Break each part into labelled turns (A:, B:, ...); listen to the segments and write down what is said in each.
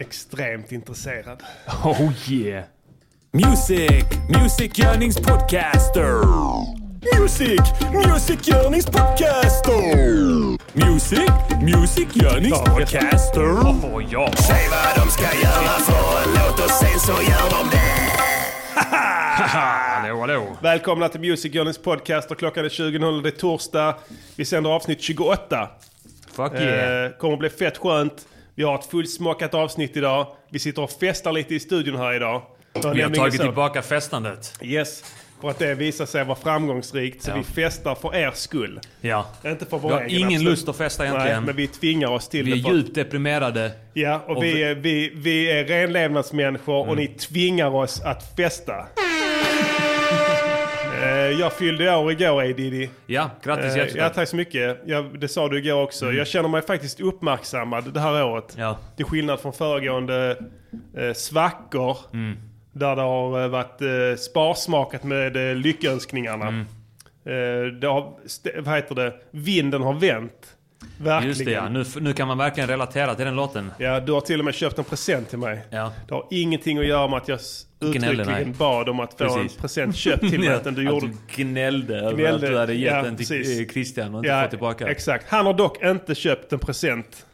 A: extremt intresserad.
B: Oh yeah!
C: Music, musikgörningspodcaster. Music, musikgörningspodcaster. Music, musikgörningspodcaster.
B: Och ja,
C: Säg vad de ska göra för en låt och sen så gör de det.
B: hallå hallå!
A: Välkomna till Music Journeys podcast och klockan är 20.00, det är torsdag. Vi sänder avsnitt 28.
B: Fuck yeah!
A: Eh, kommer att bli fett skönt. Vi har ett fullsmockat avsnitt idag. Vi sitter och festar lite i studion här idag. Det var
B: Vi har
A: nämligen
B: tagit
A: så.
B: tillbaka festandet.
A: Yes, för att det visar sig vara framgångsrikt. Så
B: Ja.
A: vi festar för er skull.
B: Ja.
A: Inte för vår
B: Vi har
A: egen,
B: ingen
A: absolut.
B: lust att festa
A: Nej,
B: egentligen.
A: men vi tvingar oss till
B: vi
A: det.
B: är
A: för-
B: djupt deprimerade.
A: Ja, och,
B: Och
A: vi,
B: vi- Mm.
A: är- vi, vi är renlevnadsmänniskor och ni tvingar oss att festa. Eh, Jag fyllde år igår, A. Diddy.
B: Ja, grattis
A: Eh,
B: hjärtligt.
A: Ja, tack så mycket. Jag, det sa du igår också. Jag känner mig faktiskt uppmärksammad det här året.
B: Mm. Ja.
A: Till skillnad från föregående eh, svackor.
B: Mm.
A: Där det har eh, varit eh, sparsmakat med eh, lyckönskningarna.
B: Mm.
A: Eh, det har, st- vad heter det? Vinden har vänt. Verkligen.
B: Just det ja, nu, nu kan man verkligen relatera till den låten.
A: Ja, du har till och med köpt en present till mig.
B: Ja.
A: Det har ingenting att göra med att jag s-
B: Gnäller,
A: uttryckligen
B: nej.
A: bad om att få
B: Precis.
A: en present köpt till mig. utan du
B: att
A: gjorde...
B: du gnällde över att
A: Gnällde,
B: du hade gett
A: ja,
B: den till
A: precis.
B: eh, Christian och inte fått tillbaka.
A: Exakt. Han har dock inte köpt en present.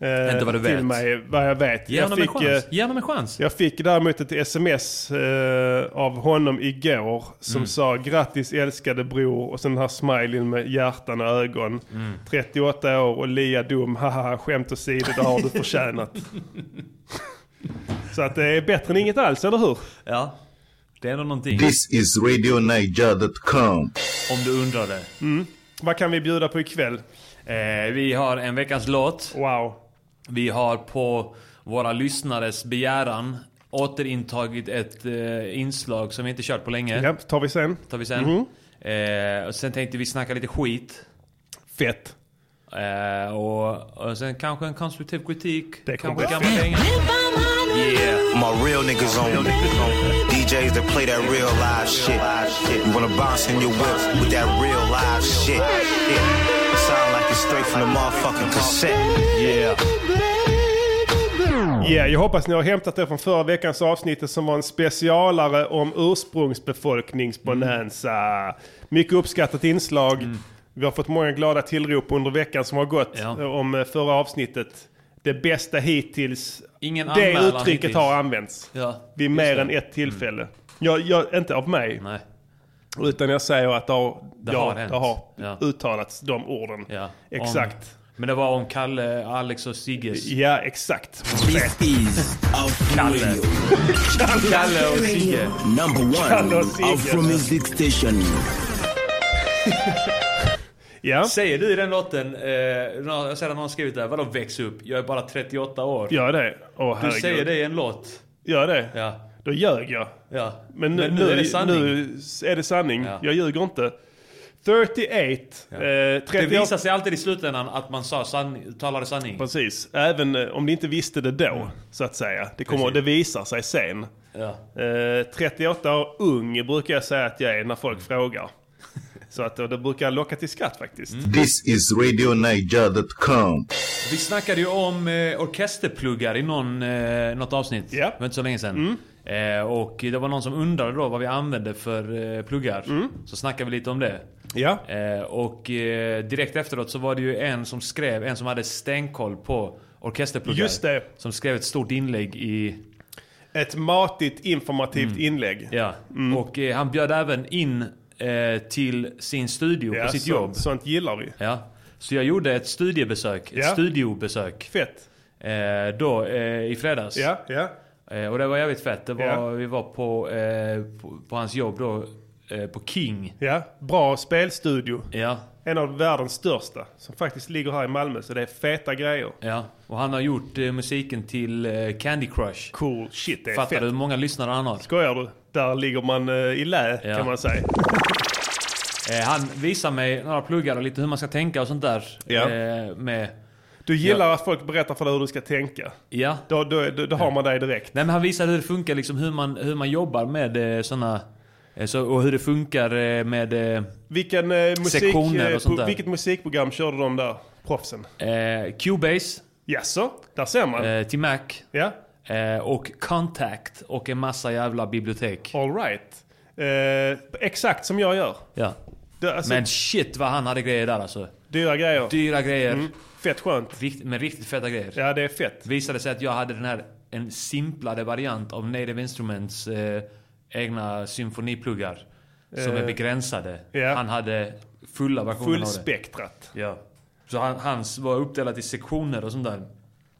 A: eh,
B: Inte vad du
A: till
B: vet.
A: mig, vad jag vet.
B: Ge
A: jag,
B: honom en
A: fick, eh,
B: chans. Ge honom en chans.
A: jag fick däremot ett sms eh, av honom igår som
B: Mm.
A: sa grattis älskade bror och sen den här smileyn med hjärtan och ögon.
B: Mm.
A: 38 år och lia dum, haha skämt åsido det har du förtjänat. Så att det är bättre än inget alls, eller hur?
B: Ja. Det är ändå någonting.
D: This is RadioNiger.com.
B: Om du undrar det.
A: Vad kan vi bjuda på ikväll?
B: Eh, vi har en veckans låt.
A: Wow.
B: Vi har på våra lyssnares begäran återintagit ett eh, inslag som vi inte kört på länge.
A: Ja, tar vi sen.
B: Tar vi sen.
A: Mhm.
B: Eh, och sen tänkte vi snacka lite skit.
A: Fett.
B: Eh, och, och sen kanske en konstruktiv kritik.
A: Det kommer
B: kanske
A: bli
B: gamla pengar. Yeah.
E: My real niggas only. DJs that play that real live shit. You wanna bounce in your whip with that real live shit. Sound like it's straight from the motherfucking cassette.
B: Yeah.
A: Ja, jag hoppas ni har hämtat det från förra veckans avsnitt som var en specialare om ursprungsbefolkningsbonanza. Mycket uppskattat inslag.
B: Mm.
A: Vi har fått många glada tillrop under veckan som har gått
B: Ja.
A: eh, om eh, förra avsnittet. Det bästa hittills.
B: Ingen
A: det
B: anmälan
A: uttrycket
B: hittills.
A: har använts
B: Ja,
A: vid
B: just
A: mer
B: det. Mm.
A: än ett tillfälle. Jag, jag, inte av mig,
B: Nej.
A: utan jag säger att det har,
B: Det
A: ja,
B: har hänt.
A: det har
B: Ja.
A: uttalats, de orden.
B: Ja.
A: Exakt.
B: Om, men det var om Kalle, Alex och Sigges.
A: Ja, exakt.
F: This is
B: Kalle.
F: Outlaw
B: Kalle och Sigge.
F: number one
A: Carlos
G: Mm,
A: Siegel.
F: Outro Music Station.
A: Ja.
B: Säger du i den låten, eh, nå- jag ser att någon skrivit där, vadå väx upp? Jag är bara 38 år.
A: Gör det. Åh,
B: du
A: herregud.
B: säger det i en låt.
A: Gör det?
B: Ja.
A: Då ljög jag.
B: ja.
A: Men nu, nu,
B: är det sanning.
A: är det sanning.
B: Ja.
A: Jag ljuger inte. 38. Eh, 38
B: det visar sig alltid i slutändan att man sa sanning, talade sanning.
A: Precis. Även eh, om ni inte visste det då, så att säga. Det, kommer, det visar sig sen.
B: Ja.
A: Eh, 38 år ung brukar jag säga att jag är när folk
B: Mm.
A: frågar. Så att, och det brukar jag locka till skratt faktiskt.
B: Mm.
D: This is RadioNiger.com.
B: Vi snackade ju om eh, orkesterpluggar i någon, eh, något avsnitt.
A: Ja. Mm.
B: Det var inte så länge sedan. Eh, och det var någon som undrade då vad vi använde för eh, pluggar. Så snackade vi lite om det.
A: Mm. Ja.
B: Eh, och eh, direkt efteråt så var det ju en som skrev, en som hade stenkoll på orkesterpluggar.
A: Just det.
B: Som skrev ett stort inlägg i...
A: Ett matigt informativt inlägg.
B: Mm. Ja.
A: Mm.
B: Och eh, han bjöd även in eh, till sin studio
A: Ja,
B: på sitt
A: sånt-
B: jobb.
A: Sånt gillar vi.
B: Ja. Så jag gjorde ett studiebesök. Ett
A: Ja.
B: studiobesök.
A: Fett.
B: Eh, då eh, i fredags.
A: Ja, ja.
B: Eh, och det var jävligt fett. Det var,
A: Ja.
B: Vi var på, eh, på, på hans jobb då. Eh, på King.
A: Ja, bra spelstudio.
B: Ja.
A: En av världens största. Som faktiskt ligger här i Malmö. Så det är feta grejer.
B: ja. Och han har gjort eh, musiken till eh, Candy Crush.
A: Cool shit, det är
B: Fattar
A: fett.
B: du hur många lyssnare han har?
A: Skojar du? Där ligger man eh, i lä
B: Ja.
A: kan man säga.
B: Eh, han visar mig några pluggar och lite hur man ska tänka och sånt där.
A: Ja.
B: Eh, med,
A: Du gillar att folk berättar för dig hur du ska tänka.
B: ja.
A: Då, då, då, då har man dig direkt.
B: Nej men han visar hur det funkar liksom hur man, hur man jobbar med eh, såna... Eh, så, och hur det funkar eh, med... Eh,
A: Vilken, eh, musik,
B: Sektioner och
A: eh,
B: sånt
A: på,
B: där.
A: vilket musikprogram körde de där proffsen?
B: eh, Cubase
A: Jaså? Där ser man?
B: eh, till Mac.
A: Ja.
B: Eh, och Contact och en massa jävla bibliotek.
A: All right. Eh, exakt som jag gör.
B: Ja.
A: Det, alltså,
B: Men shit vad han hade grejer där alltså.
A: dyra grejer.
B: Dyra grejer.
A: Mm. Fett skönt.
B: Rikt, men riktigt feta grejer.
A: Ja, det är fett.
B: Visade sig att jag hade den här, en simplare variant av Native Instruments eh, egna symfonipluggar. Som är begränsade.
A: Eh, ja.
B: Han hade fulla versionen av det.
A: Fullspektrat.
B: Ja. Så han, hans var uppdelat i sektioner och sånt där.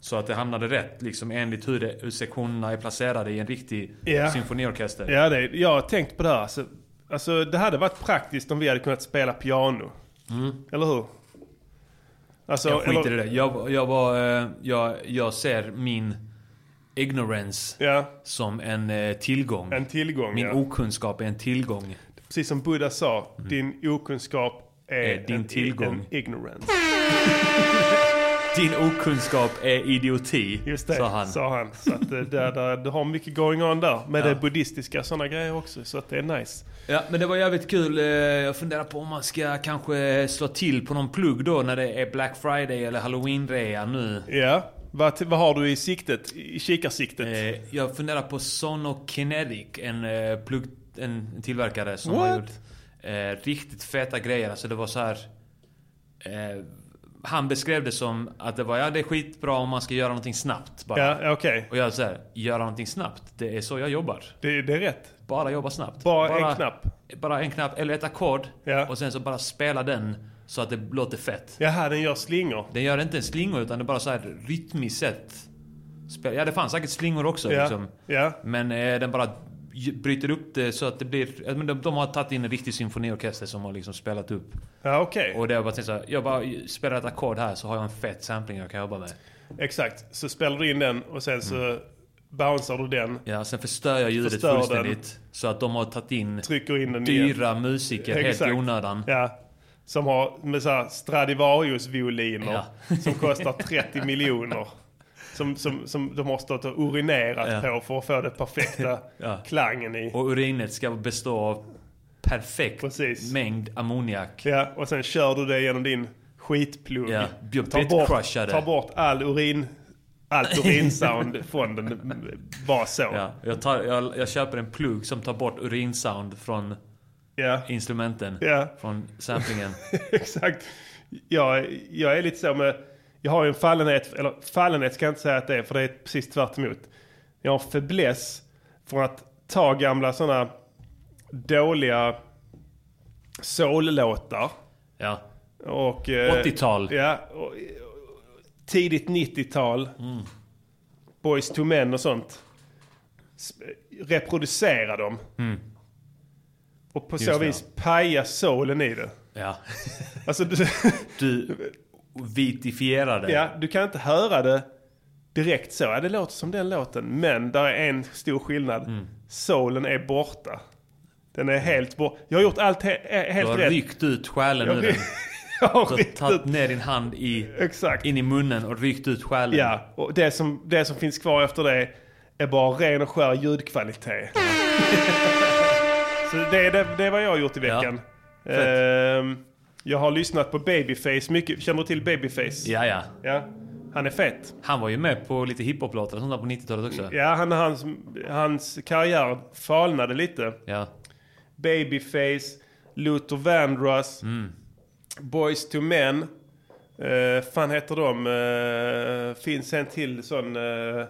B: Så att det hamnade rätt liksom enligt hur, det, hur sektionerna är placerade i en riktig
A: Ja.
B: symfoniorkester.
A: Ja, det, är- jag har tänkt på det här. Alltså, alltså, det hade varit praktiskt om vi hade kunnat spela piano. Eller hur? Alltså,
B: Mm. Jag skiter
A: eller-
B: i det. Jag, jag, var, eh, jag, jag ser min ignorance
A: Ja,
B: som en eh, tillgång.
A: en tillgång.
B: Min
A: ja.
B: okunskap är en tillgång.
A: Precis som Buddha sa, din okunskap är,
B: Mm. Är din
A: en,
B: tillgång.
A: en ignorance.
B: Din okunskap är idioti,
A: Just det,
B: sa han.
A: Så att, eh, där, där, du har mycket going on där. Med det buddhistiska sådana grejer också. Så att det är nice.
B: Ja, men det var jävligt kul. Eh, Jag funderar på om man ska kanske slå till på någon plugg då när det är Black Friday eller Halloween-rea nu.
A: Ja, vad, vad har du i siktet? I kikarsiktet?
B: Eh, Jag funderar på Sonokinetic, en, eh, plugg, en tillverkare som har
A: What?
B: gjort eh, riktigt feta grejer. Alltså det var så här... Eh, han beskrev det som att det var ja, det är skitbra om man ska göra någonting snabbt bara.
A: ja, okej.
B: Och jag säger, göra någonting snabbt. Det är så jag jobbar.
A: Det, det är rätt.
B: Bara jobba snabbt.
A: Bara en knapp.
B: Bara en knapp, eller ett ackord.
A: Ja.
B: Och sen så bara spela den så att det låter fett.
A: Jaha, den gör slingor.
B: Den gör inte en slingor utan det är bara så här rytmiskt sett. Spel- Ja, det fanns säkert slingor också
A: Ja,
B: liksom.
A: ja.
B: Men eh, den bara j- bryter upp det så att det blir... ja, men De, de har tagit in en riktig symfoniorkester som har liksom spelat upp.
A: Ja, okej.
B: Och det har bara tänkt så här, jag bara spelar ett ackord här så har jag en fet sampling jag kan jobba med.
A: Exakt. Så spelar du in den och sen så bouncear du den,
B: Mm. Ja, sen förstör jag ljudet
A: Förstör den.
B: fullständigt. Så att de har tagit in
A: trycker in den igen.
B: dyra musiker helt i onödan.
A: Ja. Som har med så här Stradivarius-violiner som kostar 30 miljoner. Som, som, som de har stått och urinerat
B: Ja.
A: på för att få den perfekta
B: Ja.
A: klangen i.
B: Och urinet ska bestå av perfekt
A: Precis.
B: mängd ammoniak.
A: Ja, och sen kör du det genom din skitplugg.
B: Ja, blir bitcrushade.
A: bort, ta bort all urin, allt urinsound från den. Bara så.
B: Ja, jag, tar, jag, jag köper en plugg som tar bort urinsound från
A: Ja.
B: instrumenten.
A: Ja.
B: Från samplingen.
A: Exakt. Jag, jag är lite så med... Jag har ju en fallenhet, eller fallenhet ska jag inte säga att det är, för det är precis tvärt emot. Jag har en fäbless för att ta gamla sådana dåliga soul-låtar.
B: Ja.
A: Och, eh,
B: 80-tal.
A: Ja, och, och, tidigt 90-tal. Boys to men och sånt. S- Reproducera dem. Och på så
B: det,
A: vis paja soulen i det.
B: ja.
A: Alltså, du,
B: Du vitifierade.
A: ja, du kan inte höra det direkt så. Ja, det låter som den låten. Men där är en stor skillnad.
B: Mm.
A: Soulen är borta. Den är helt borta. Jag har gjort allt he- he-
B: Du
A: helt
B: har
A: rätt.
B: ryckt ut själen
A: Jag
B: ur
A: ry-
B: den.
A: Jag har
B: Du har
A: ryckt
B: tagit
A: ut.
B: ner din hand i,
A: Exakt.
B: in i munnen och ryckt ut själen.
A: Ja, och det som, det som finns kvar efter det är bara ren och skär ljudkvalitet. Så det är det, det är vad jag har gjort i veckan. Ehm, jag har lyssnat på Babyface mycket. Känner du till Babyface?
B: ja, ja.
A: Ja. Han är fet.
B: Han var ju med på lite hiphop-låtar och sånt där på 90-talet också.
A: Ja, han, hans, hans karriär falnade lite.
B: Ja.
A: Babyface, Luther Vandross, Boys to Men. Uh, fan heter de? Eh, finns en till sån eh,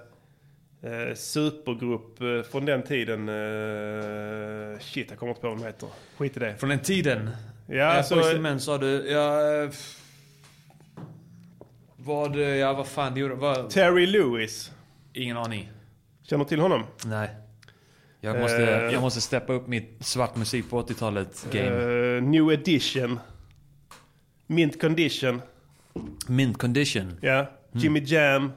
A: eh, supergrupp eh, från den tiden. eh, shit, jag kommer inte på vad de heter. Skit i det.
B: Från den tiden
A: Ja,
B: Ja,
A: alltså,
B: Boyz II Eh, Men sa du, ja... eh, f- Vad, eh, ja vad fan det gjorde, vad,
A: Terry Lewis.
B: Ingen aning.
A: Känner du till honom?
B: Nej. Jag måste,
A: Eh.
B: jag måste steppa upp mitt svart musik på 80-talet game.
A: Eh, New Edition. Mint Condition.
B: Mint condition.
A: Ja. Jimmy Jam.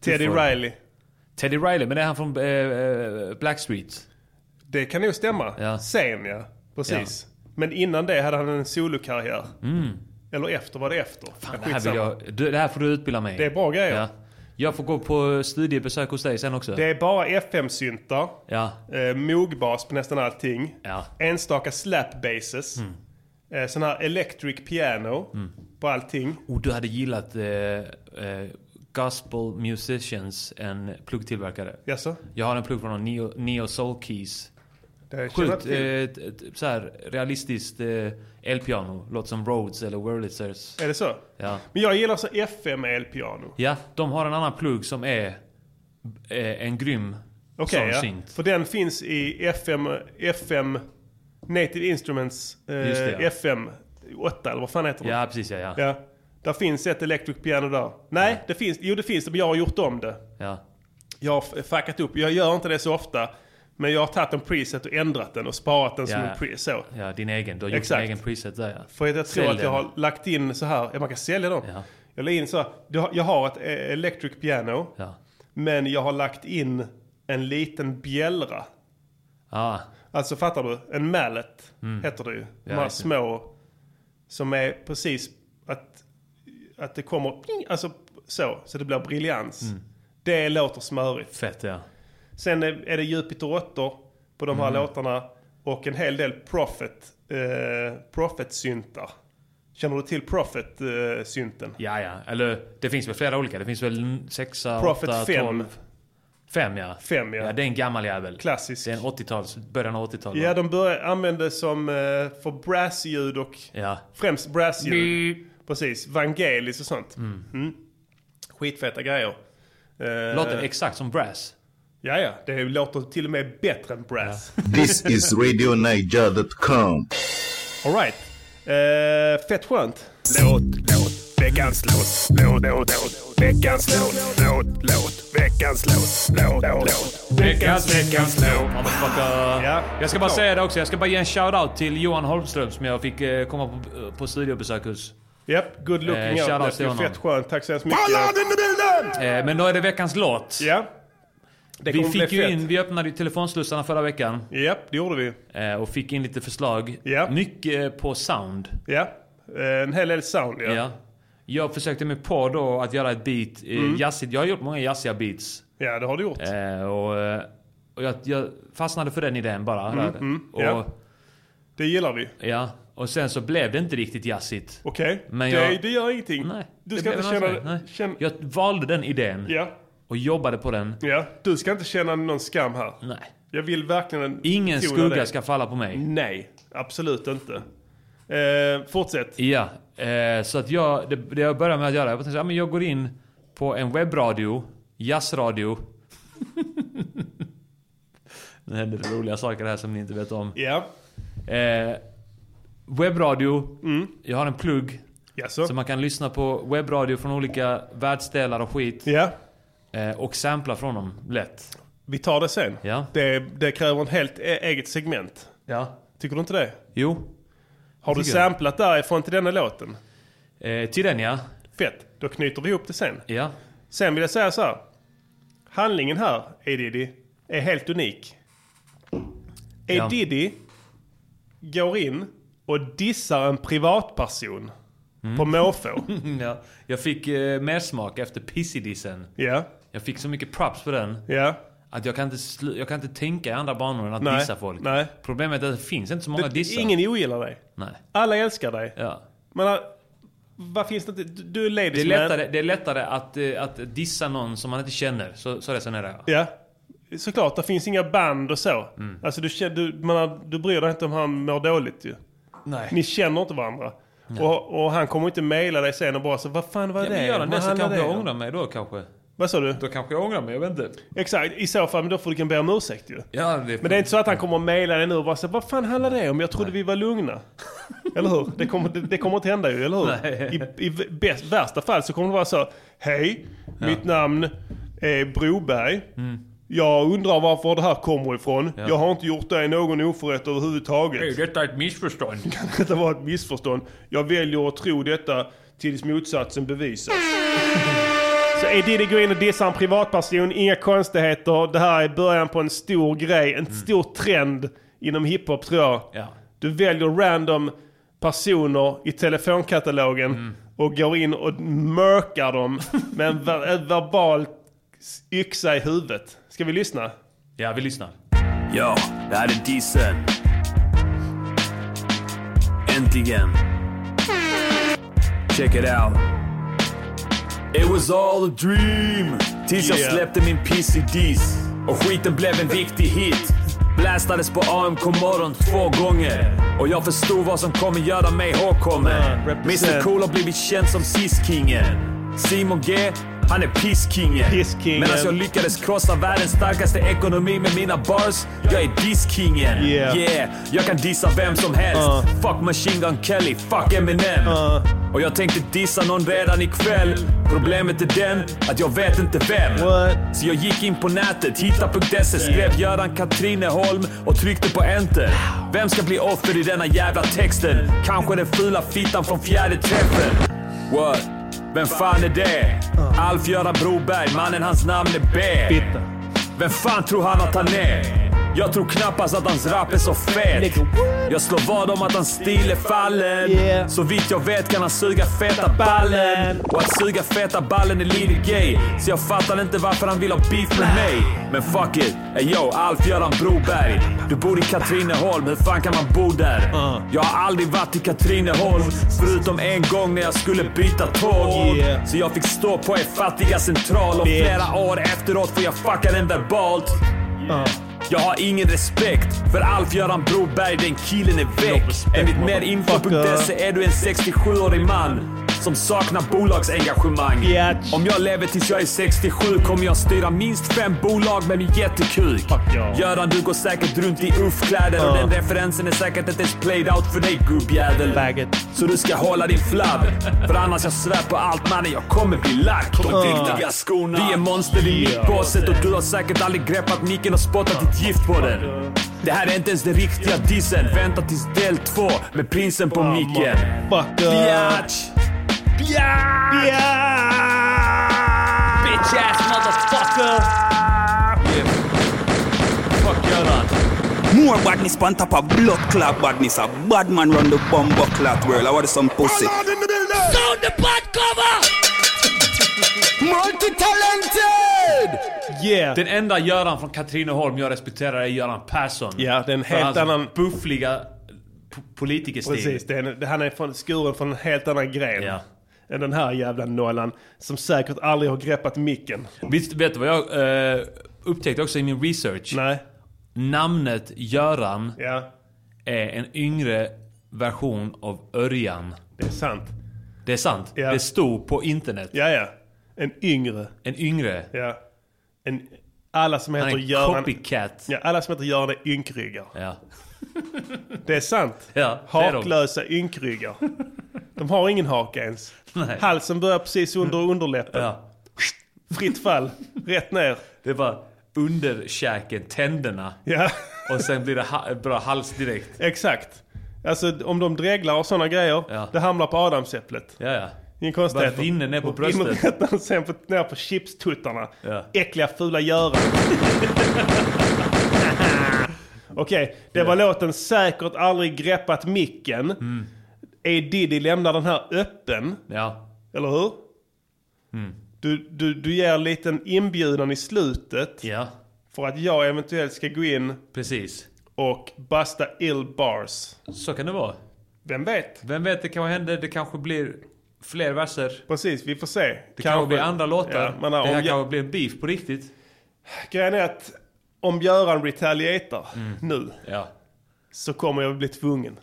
A: Teddy
B: får-
A: Riley.
B: Teddy Riley, men det är han från eh, eh, Blackstreet?
A: Det kan nog stämma.
B: Ja.
A: Sen ja, precis. Men innan det hade han en solokarriär. Eller efter, var det efter?
B: Mm. Fan,
A: Ja,
B: det, här vill
A: skitsamma.
B: jag, du, det här får du utbilda mig
A: Det är bra grejer.
B: Ja. Jag får gå på studiebesök hos dig sen också.
A: Det är bara FM-syntar,
B: Ja.
A: eh, mogbas på nästan allting,
B: Ja. Mm.
A: enstaka slap basses, eh,
B: Oh,
A: sån här electric piano på allting.
B: Och du hade gillat eh, eh, Gospel Musicians, en pluggtillverkare.
A: Jaså?
B: Jag har en plugg från dem, Neo, Neo Soul Keys.
A: Det känner jag
B: Sjukt eh,
A: till.
B: ett- ett så här, realistiskt eh, elpiano. Låter som Rhodes eller Wurlitzers.
A: Är det så?
B: eh, Ja.
A: Men jag gillar så FM elpiano.
B: ja, de har en annan plugg som är eh, en grym
A: Okej, ja.
B: sångsynth.
A: För den finns i FM, FM Native Instruments eh,
B: Just det, ja.
A: FM 8 eller vad fan heter det?
B: Ja, precis ja. ja.
A: ja. Där finns ett electric piano där. Nej, det finns Jo, det finns det, men jag har gjort om det.
B: ja.
A: Jag har f- fuckat upp. Jag gör inte det så ofta. Men jag har tagit en preset och ändrat den och sparat den som
B: Ja.
A: en preset. Så.
B: Ja, din egen. Du har gjort
A: Exakt.
B: din egen preset där ja.
A: För jag tror
B: Sälj
A: att jag
B: den.
A: har lagt in så här, ja, man kan sälja dem.
B: Ja.
A: Jag la in så här, du har- jag har ett eh, electric piano,
B: Ja.
A: men jag har lagt in en liten bjällra.
B: Ah,
A: Alltså fattar du? En mallet heter det ju. De
B: Mm. Ja,
A: här
B: just det.
A: små som är precis att, att det kommer pling, alltså så, så det blir briljans.
B: Mm.
A: Det låter smörigt.
B: fett ja.
A: Sen är är det Jupiter 8 på de här
B: Mm.
A: låtarna och en hel del Prophet, eh, Prophet-syntar. Känner du till eh, Prophet-synten?
B: Ja, ja. Eller det finns väl flera olika. Det finns väl 6, 8,
A: Prophet
B: 12.
A: 5.
B: 5 ja.
A: Fem, ja.
B: Ja, det är en gammal jävel.
A: Klassisk.
B: Det är en 80-tals, början av 80-talet.
A: Ja, de började använda som eh, för brassljud och
B: Ja.
A: främst brassljud. Precis, vangelis och sånt. Mm. Skitfeta grejer. Eh,
B: Låter exakt som brass.
A: Ja, ja. Det låter till och med bättre än brass.
D: This is RadioNiger.com.
A: All right. Eh, fett skönt.
C: Låt, låt, veckans låt, låt, låt, låt, veckans låt, låt, låt, veckans låt, låt, låt, veckans, veckans låt.
B: Motherfucker.
A: Ja,
B: jag ska bara
A: såklart.
B: säga det också. Jag ska bara ge en shout-out till Johan Holmström som jag fick eh, komma på, på studiobesök hos.
A: Japp, good looking
B: Eh,
A: out.
B: shoutout
A: Det
B: till
A: är
B: honom.
A: fett skönt. Tack så hemskt mycket.
B: Eh, men då är det veckans låt.
A: Ja. Det
B: Vi
A: kommer bli
B: fick ju
A: fett.
B: in, vi öppnade ju telefonslussarna förra veckan
A: Japp, det gjorde vi.
B: eh, och fick in lite förslag.
A: Ja.
B: Mycket eh, på sound.
A: Ja. Eh, En hel del sound, ja. Ja,
B: Ja. Jag försökte mig på då att göra ett beat, eh,
A: Mm.
B: jazzigt. Jag har gjort många jazziga beats.
A: det har du gjort.
B: Eh, och eh, och jag, jag fastnade för den idén bara. där. och,
A: Mm, ja. Det gillar vi.
B: ja. och sen så blev det inte riktigt jazzigt.
A: Okej,
B: Men
A: det,
B: jag-
A: det gör ingenting.
B: Nej.
A: du
B: det
A: ska
B: blev
A: inte
B: en annan
A: känna...
B: grej. Nej.
A: känna
B: Jag valde den idén
A: ja,
B: och jobbade på den.
A: ja, du ska inte känna någon skam här.
B: Nej.
A: Jag vill verkligen
B: Ingen
A: betona
B: skugga
A: det. Mm.
B: ska falla på mig.
A: Nej, absolut inte. Eh, fortsätt.
B: Ja, eh, så att jag, det, det jag började med att göra, jag tänkte så här, men jag går in på en webbradio, jazzradio. nu händer det roliga saker här som ni inte vet om.
A: Ja, Mm.
B: Eh, webbradio, jag har en plugg.
A: jaså?
B: Så man kan lyssna på webbradio från olika världsdelar och skit.
A: Ja,
B: Eh, och sampla från dem lätt.
A: vi tar det sen.
B: Ja.
A: Det, det kräver en helt e- eget segment.
B: Ja.
A: Tycker du inte det?
B: Jo.
A: Har du
B: Tycker jag.
A: samplat därifrån till denna låten?
B: Eh, till den ja.
A: Fett, då knyter vi ihop det sen.
B: Ja.
A: Sen vill jag säga så här. Handlingen här, A Diddy, är helt unik. A
B: Ja.
A: Diddy går in och dissar en privatperson
B: Mm.
A: på måfå.
B: ja. Jag fick eh, mer smak efter Pissidissen.
A: ja,
B: Jag fick så mycket props för den.
A: ja.
B: Att jag kan inte, slu- jag kan inte tänka i andra banor än att
A: Nej,
B: dissa folk.
A: nej.
B: Problemet är att det finns inte så många dissar.
A: Ingen ogillar dig.
B: Nej.
A: Alla älskar dig.
B: Ja.
A: Men vad finns det inte? Du, du är
B: Det är
A: ladies man.
B: lättare, det är lättare att, eh, att dissa någon som man inte känner. Så, så resonerar jag.
A: Ja. Såklart, det finns inga band och så.
B: Mm.
A: Alltså du, känner- du, man, du bryr dig inte om han mår dåligt ju.
B: Nej.
A: Ni känner inte varandra. Och, och han kommer inte mejla dig sen och bara så vad fan var
B: Ja,
A: det?
B: men gör den
A: Vad
B: det så
A: handlar
B: kanske jag
A: om?"
B: ångrar mig då kanske.
A: Vad sa du?
B: Då kanske jag ångrar mig, jag vet inte.
A: Exakt, i så fall, men då får du kan be om ursäkt ju.
B: Ja, det
A: Men det är inte så att han kommer att mejla dig nu och bara så vad fan handlar det om? Jag trodde vi var lugna. eller hur? Det kommer, det, det kommer inte hända ju, eller hur? I, i bäst, värsta fall så kommer det vara så Hej, mitt namn är Broberg.
B: Mm.
A: Jag undrar varför det här kommer ifrån. Jag har inte gjort dig någon oförrätt överhuvudtaget.
B: Detta är ett missförstånd.
A: Detta var ett missförstånd. Jag väljer att tro detta tills motsatsen bevisas. Så Edidi går in och dissar en privatperson, inga konstigheter. Det här är början på en stor grej, en stor trend inom hiphop tror jag.
B: Ja.
A: Du väljer random personer i telefonkatalogen och går in och mörkar dem med en ver- en verbal yxa i huvudet. Ska vi lyssna?
B: Ja, vi lyssnar.
G: Ja, det här är Diesel. Äntligen. Check it out. It was all a dream. Tills jag
A: Yeah.
G: släppte min PCDs. Och skiten blev en viktig hit. Blastades på AMK morgon två gånger. Och jag förstod vad som kommer göra mig ihågkommen. Mr Cool har blivit känd som Sis-kingen. Simon G, han är pisskingen.
A: Pisskingen.
G: Medan jag lyckades krossa världens starkaste ekonomi med mina bars. Jag är disskingen.
A: Yeah.
G: yeah. Jag kan dissa vem som helst.
A: Uh.
G: Fuck Machine Gun Kelly, fuck Eminem. Och jag tänkte dissa någon redan ikväll. Problemet är den att jag vet inte vem.
A: What?
G: Så jag gick in på nätet, hitta.se, skrev Göran Katrineholm och tryckte på enter. Vem ska bli offer i denna jävla texten? Kanske den fula fittan från fjärde träffen. What? Vem fan är det? Alf-Göran Broberg, mannen hans namn är B.
A: Fitta.
G: Vem fan tror han att han är? Jag tror knappast att hans rap är så fet. Jag slår vad om att hans stil är fallen. Så vitt jag vet kan han suga feta ballen. Och att suga feta ballen är lite gay. Så jag fattar inte varför han vill ha beef med mig. Men fuck it. Ey yo, Alf-Göran Broberg. Du bor i Katrineholm, hur fan kan man bo där? Jag har aldrig varit i Katrineholm. Förutom en gång när jag skulle byta tåg.
A: Yeah.
G: Så jag fick stå på er fattiga central och flera år efteråt får jag fucka den verbalt. Jag har ingen respekt för Alf-Göran Broberg, den killen är väck. Enligt merinfo.se är du en 67-årig man som saknar bolagsengagemang.
A: Biatch.
G: Om jag lever tills jag är 67 kommer jag styra minst fem bolag med min jättekuk.
A: ja.
G: Göran, du går säkert runt i uffkläder och den referensen är säkert inte ens played out för dig gubbjävel. Så du ska hålla din flabb. För annars jag svär på allt mannen, jag kommer bli lack. De viktiga skorna. Vi är monster i mittbåset och du har säkert aldrig greppat micken och spottat ditt gift på den. Det här är inte ens den riktiga dissen. Vänta tills del två med prinsen på micken.
A: Fucker.
G: Biatch!
B: Bitch ass motherfucker!
G: Fuck Göran.
F: More badness pan top of blood clot badness. A bad man run the bomber clot world. I want some pussy.
B: Sound the butt cover!
A: Yeah.
B: Den enda Göran från Katrineholm jag respekterar är Göran Persson.
A: Ja, det är en
B: För
A: helt
B: hans
A: annan-
B: buffliga p- politikerstil.
A: Precis, det är en, det- han är från, skuren från en helt annan gren.
B: Ja.
A: Än den här jävla nollan. Som säkert aldrig har greppat micken.
B: Visst, vet du vad jag eh, upptäckte också i min research?
A: Nej.
B: Namnet Göran
A: Ja,
B: är en yngre version av Örjan.
A: det är sant.
B: Det är sant.
A: Ja.
B: Det stod på internet.
A: Ja, ja. En yngre.
B: En yngre.
A: Ja. En, alla som
B: Han
A: heter
B: är
A: Alltså, Göran...
B: copycat.
A: Ja, alla som heter Göran är ynkryggar.
B: Ja.
A: Det är sant.
B: Ja, det är de.
A: Haklösa ynkryggar. De har ingen haka ens.
B: Nej. Mm.
A: Halsen börjar precis under underläppen.
B: ja.
A: Fritt fall, rätt ner.
B: Det var underkäken, tänderna.
A: Ja,
B: Och sen blir det ha- bra hals direkt.
A: exakt. Alltså om de dreglar och sådana grejer,
B: Ja.
A: det hamnar på adamsäpplet.
B: Ja, ja.
A: Ingen konstigheter.
B: Bara rinner ner på
A: Och
B: bröstet.
A: inrättar sen på, ner på chipstuttarna.
B: Ja.
A: Äckliga fula göran. Okej, det var låten Säkert aldrig greppat micken.
B: Mm.
A: A Diddy lämnar den här öppen,
B: Ja.
A: eller hur?
B: Mm.
A: Du, du, du ger en liten inbjudan i slutet
B: Ja.
A: för att jag eventuellt ska gå in
B: Precis.
A: och basta ill bars.
B: Så kan det vara.
A: Vem vet?
B: Vem vet, det kanske händer. Det kanske blir fler verser.
A: Precis, vi får se.
B: Det kanske, blir andra låtar.
A: Ja, men, om
B: det här
A: jag-
B: kanske blir en beef på riktigt.
A: Grejen är att om Göran retaliatar
B: Mm.
A: nu
B: Ja.
A: så kommer jag bli tvungen.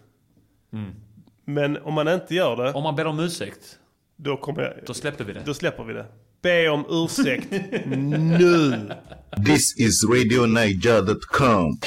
A: Men om man inte gör det,
B: Mm. Om man ber om ursäkt,
A: då, kommer jag,
B: då släpper vi det.
A: då släpper vi det. Be om ursäkt nu!
D: This is RadioNiger.com.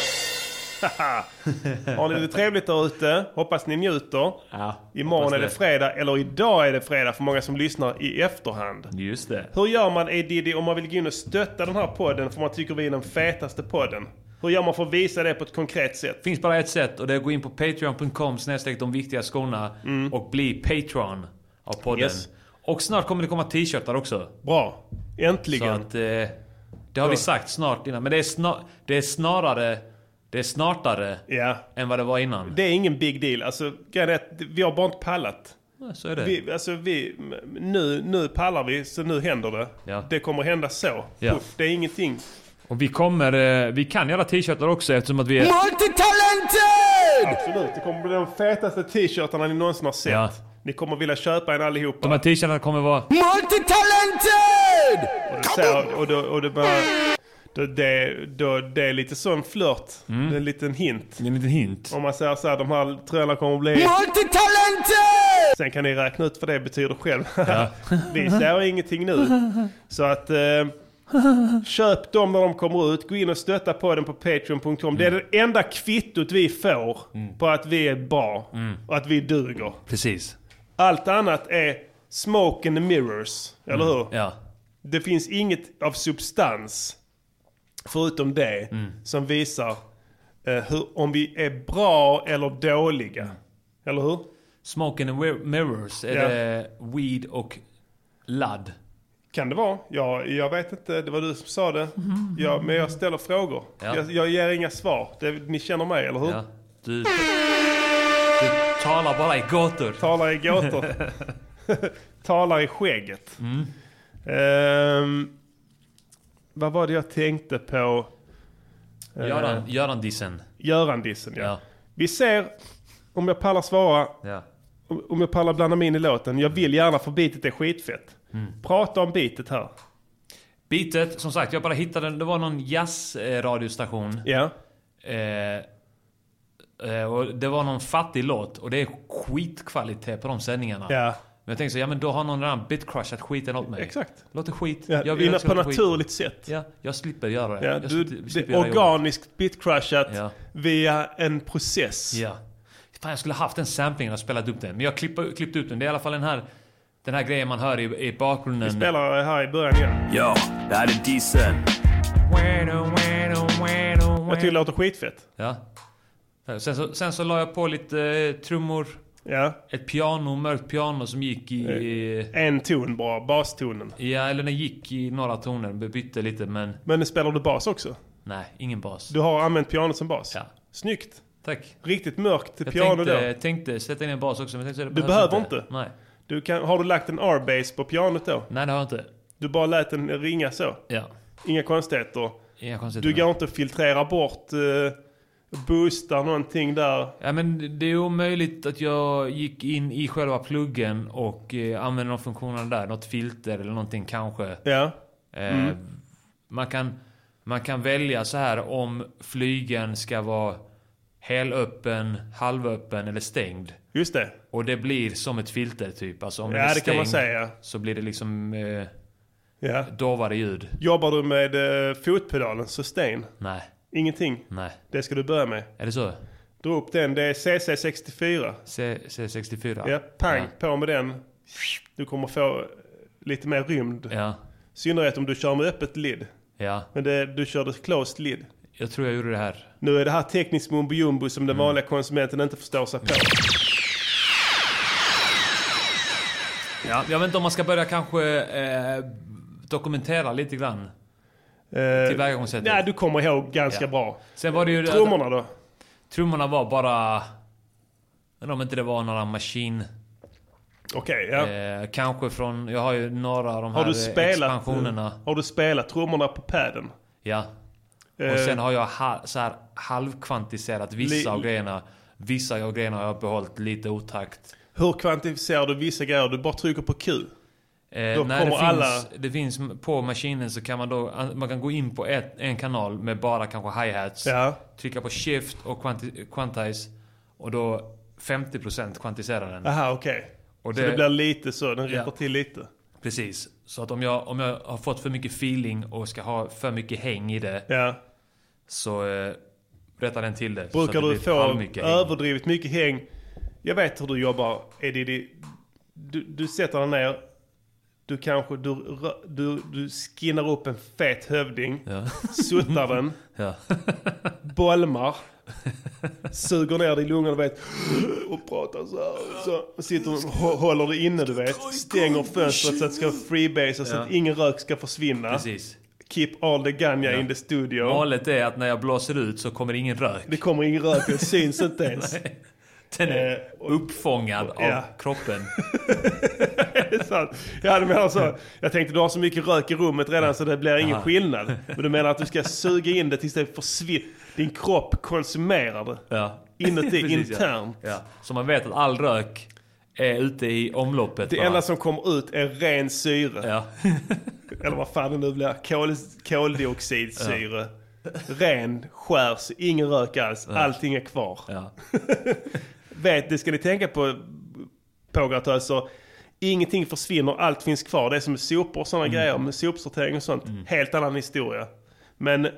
A: Har ni det trevligt där ute? Hoppas ni njuter.
B: Ja,
A: Imorgon
B: hoppas
A: är det
B: det.
A: fredag, eller idag är det fredag för många som lyssnar i efterhand.
B: Just det.
A: Hur gör man A Diddy om man vill gå in och stötta den här podden för man tycker vi är den fetaste podden? Hur gör man för att visa det på ett konkret sätt?
B: finns bara ett sätt och det är att gå in på patreon.com snedstreck de viktiga skorna och bli patron av podden.
A: Mm. Yes.
B: Och snart kommer det komma t-shirtar också.
A: Bra!
B: Så
A: Äntligen!
B: att, eh, det har vi sagt snart innan. Men det är, snar, det är snarare... Det är snartare
A: Ja.
B: än vad det var innan.
A: Det är ingen big deal. Alltså, grejen är att vi har bara inte pallat.
B: Så är det.
A: Vi, alltså, vi, m- nu, nu pallar vi, så nu händer det.
B: Ja.
A: Det kommer hända så.
B: Ja.
A: Puff, det är ingenting.
B: Och vi kommer... eh, Vi kan göra t-shirtar också eftersom att vi är...
A: Absolut, det kommer bli de fetaste t-shirtarna ni någonsin har sett.
B: Ja.
A: Ni kommer vilja köpa en allihopa.
B: De här t-shirtarna kommer vara...
H: Multitalented!
A: Så här, och då, och det bara, då, det, då, det är lite sån flört.
B: Mm.
A: Det är en liten hint.
B: Det är en liten hint.
A: Om man säger så här, de här tröjorna kommer att bli...
H: Multitalented!
A: Sen kan ni räkna ut vad det betyder själv. Vi ser ingenting nu. Så att... Eh, köp dem när de kommer ut. Gå in och stötta podden på Patreon.com. Det är det enda kvittot vi får på att vi är bra och att vi duger.
B: Precis.
A: Allt annat är smoke and mirrors. Eller hur?
B: Ja.
A: Det finns inget av substans förutom det som visar eh, hur, om vi är bra eller dåliga. Eller hur?
B: Smoking and Mir- Mirrors. Är
A: Ja.
B: det weed och ladd?
A: Kan det vara? Ja, jag vet inte, det var du som sa det. Ja, men jag ställer frågor.
B: Ja.
A: Jag, jag ger inga svar. Det, ni känner mig, eller hur?
B: Ja. Du, du talar bara i gator.
A: Talar i gåtor. Talar i skägget.
B: Mm.
A: Ehm, vad var det jag tänkte på? Eh,
B: Göran, Göran Dissen.
A: Göran-dissen, ja.
B: Ja.
A: Vi ser, om jag pallar svara,
B: ja.
A: om om jag pallar blanda mig in i låten. Jag vill gärna för bitet är skitfett.
B: Mm.
A: Prata om bitet här.
B: Beatet, som sagt, jag bara hittade... Det var någon jazzradiostation.
A: Ja.
B: Eh, eh, och det var någon fattig låt och det är skitkvalitet på de sändningarna.
A: Ja.
B: Men jag tänkte så, ja men då har någon redan bitcrushat skiten åt mig.
A: Exakt.
B: Låter skit.
A: ja.
B: jag
A: Innan
B: att det
A: på
B: ska låta skit.
A: naturligt sätt.
B: Ja, jag slipper göra det.
A: Ja,
B: jag
A: du,
B: slipper-
A: det
B: slipper
A: är
B: göra jobbet.
A: organiskt bitcrushat
B: Ja.
A: via en process.
B: Ja. Fan, jag skulle haft en sampling och spelat upp den. Men jag klippte, klippte ut den. Det är i alla fall den här, den här grejen man hör i, i bakgrunden.
A: Spelar här i början igen.
G: Ja, det här är Dissen.
A: Jag tycker det låter skitfett.
B: Ja. Eh, Sen så, sen så la jag på lite eh, trummor.
A: Ja.
B: Ett piano, mörkt piano som gick i...
A: Eh.
B: i
A: En ton bara, bastonen.
B: Ja, eller den gick i några toner. Den bytte lite, men
A: Men nu spelar du bas också?
B: nej, ingen bas.
A: Du har använt pianot som bas?
B: Ja.
A: Snyggt.
B: Tack.
A: Riktigt mörkt
B: Jag
A: piano
B: tänkte,
A: då.
B: tänkte sätta in en bas också, men jag tänkte, så det
A: Du
B: behövs
A: behöver inte.
B: Nej.
A: Du kan, har du lagt en R-bass på pianot då?
B: nej, det har jag inte.
A: Du bara lät den ringa så?
B: Ja.
A: Inga konstigheter?
B: Inga konstigheter.
A: Du går inte och filtrerar bort, eh, boostar någonting där?
B: Ja, men det är omöjligt att jag gick in i själva pluggen och eh, använde de funktionerna där. Något filter eller någonting kanske.
A: Ja.
B: Eh,
A: Mm.
B: man, kan, man kan välja så här om flygen ska vara helöppen, halvöppen eller stängd.
A: Just det.
B: Och det blir som ett filter typ. Alltså om
A: Ja,
B: den är
A: det kan man
B: stängd
A: säga.
B: så blir det liksom eh,
A: Ja.
B: dovare ljud.
A: Jobbar du med eh, fotpedalen, sustain?
B: Nej,
A: Ingenting.
B: nej.
A: Det ska du börja med.
B: Är det så?
A: Dra upp den. Det är CC64.
B: C- C64?
A: Ja, pang på med den. Du kommer få eh, lite mer rymd.
B: Ja. ja,
A: I synnerhet om du kör med öppet lid.
B: ja.
A: Men det, du körde closed lid.
B: Jag tror jag gjorde det här.
A: Nu är det här tekniskt mumbo jumbo som
B: Mm.
A: den vanliga konsumenten inte förstår sig på.
B: Ja, jag vet inte om man ska börja kanske eh, dokumentera lite grann.
A: Eh,
B: Tillvägagångssättet.
A: Nej, du kommer ihåg ganska
B: Ja.
A: bra.
B: Sen var det ju...
A: Trummorna då?
B: trummorna var bara... Men om inte det var några maskin...
A: Okej, ja.
B: Eh, kanske från... Jag har ju några av de här
A: Har du,
B: eh,
A: spelat,
B: expansionerna.
A: har du spelat trummorna på padden?
B: Ja. Och sen har jag ha, så här halvkvantiserat vissa
A: Li-
B: av grejerna. Vissa av grejerna har jag behållit lite otakt.
A: Hur kvantificerar du vissa grejer? Du bara trycker på Q.
B: Eh,
A: Då
B: när
A: kommer
B: det finns,
A: alla-
B: det finns på maskinen så kan man då man kan gå in på ett, en kanal med bara kanske hi-hats.
A: Ja.
B: Trycka på shift och quanti- quantize. Och då 50% kvantiserar den.
A: Aha, okej.
B: Och
A: Så
B: det-
A: det blir lite så, den
B: Ja.
A: räcker till lite.
B: Precis. Så att om jag, om jag har fått för mycket feeling och ska ha för mycket häng i det
A: Ja.
B: så eh, rättar den till det. så
A: Brukar
B: att det
A: du
B: blir
A: få
B: halvmycket häng.
A: överdrivet mycket häng? Jag vet hur du jobbar. Är det, det, du, du sätter dig ner. Du kanske du, rö- du, du skinnar upp en fet hövding. Suttar den.
B: Ja.
A: Bolmar. Suger ner det i lungorna du vet. Och pratar så här. Så och sitter och hå- håller det inne du vet. Stänger fönstret så att det ska freebasea så att ingen rök ska försvinna.
B: Precis.
A: Keep all the ganja in the studio.
B: Målet är att när jag blåser ut så kommer det ingen rök.
A: Det kommer ingen rök, det syns inte ens.
B: Den är
A: Eh, och-
B: uppfångad av
A: ja.
B: kroppen.
A: Det är sant. Ja, du menar så. Jag tänkte du har så mycket rök i rummet redan så det blir ingen skillnad. Men du menar att du ska suga in det tills det försvinner. Din kropp konsumerar det.
B: Ja.
A: Inuti,
B: Precis, ja.
A: internt.
B: Ja. Så man vet att all rök är ute i omloppet.
A: Det
B: bara.
A: enda som kommer ut är ren syre.
B: Ja.
A: Eller vad fan det nu blir. Kol, koldioxidsyre. Ren, skär, så ingen rök alls. Allting är kvar.
B: ja.
A: Vet, det ska ni tänka på pågatöser. Ingenting försvinner, allt finns kvar. Det är som sopor och
B: Mm.
A: sådana grejer. Med sopsortering och sånt. Helt annan historia. Men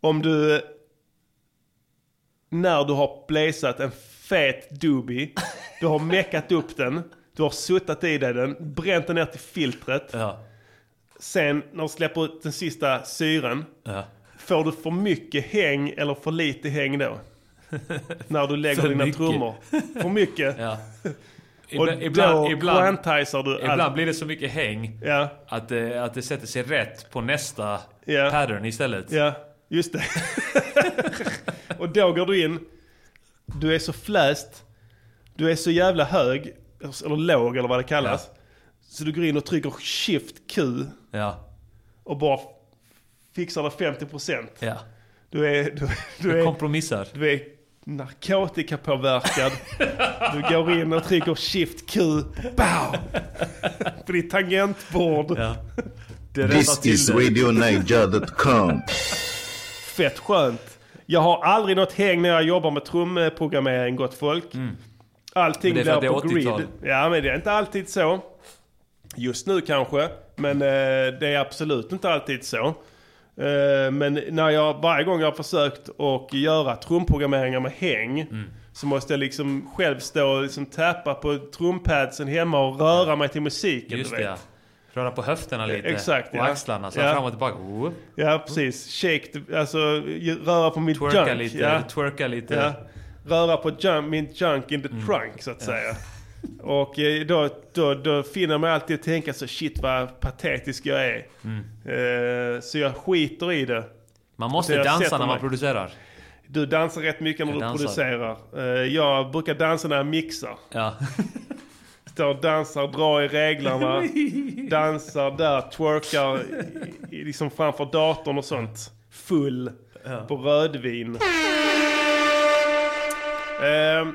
A: om du... När du har blazat en fet dubi. Du har meckat upp den. Du har suttat i dig den. Bränt den ner till filtret.
B: Ja.
A: Sen när du släpper ut den sista syren.
B: Ja.
A: Får du för mycket häng eller för lite häng då? när du lägger
B: För
A: dina
B: mycket.
A: trummor. För mycket.
B: ja.
A: Och
B: Ibla,
A: då
B: ibland, ibland,
A: quantizer du
B: ibland
A: allt.
B: blir det så mycket häng
A: Ja,
B: att det, att det sätter sig rätt på nästa
A: Ja.
B: pattern istället.
A: ja, just det. och då går du in. Du är så fläst. Du är så jävla hög. Eller låg eller vad det kallas. Så du går in och trycker shift Q.
B: Ja.
A: Och bara fixar det 50%.
B: ja.
A: Du är, du, du
B: Du
A: är,
B: kompromissar.
A: du är narkotikapåverkad. du går in och trycker shift Q. Bow! På ditt tangentbord.
B: Ja. Det
D: This is RadioNiger.com.
A: fett skönt. Jag har aldrig något häng när jag jobbar med trumprogrammering, gott folk. Allting
B: Mm. Men det är för
A: blir på
B: att det är
A: grid.
B: 80-tal.
A: Ja, men det är inte alltid så. Just nu kanske, men eh, det är absolut inte alltid så. Eh, men när jag, varje gång jag har försökt att göra trumprogrammeringar med häng
B: Mm.
A: så måste jag liksom själv stå och liksom tappa på trumpadsen hemma och röra mig till musiken.
B: Just
A: du
B: det
A: vet.
B: ja. Röra på höfterna lite.
A: Exakt,
B: och
A: ja.
B: axlarna. Så
A: Ja.
B: fram och tillbaka. Oh, Whoop.
A: ja, precis. Shake, the- alltså röra på mitt
B: Twerka
A: junk.
B: lite.
A: ja.
B: Twerka lite.
A: Ja, eh, röra på junk, min junk in the
B: Mm.
A: trunk så att säga. Och eh, då, då, då finner man alltid att tänka så shit vad patetisk jag är.
B: Mm.
A: Eh, Så jag skiter i det.
B: Man
A: Det
B: måste
A: jag
B: dansa
A: sätter
B: när man
A: mig.
B: producerar.
A: Du dansar rätt mycket när
B: Jag
A: du
B: dansar.
A: producerar. Eh, Jag brukar dansa när jag mixar.
B: Ja.
A: Står och dansar, drar i reglarna, dansar där, twerkar i- i- liksom framför datorn och sånt. Full på rödvin. Ehm,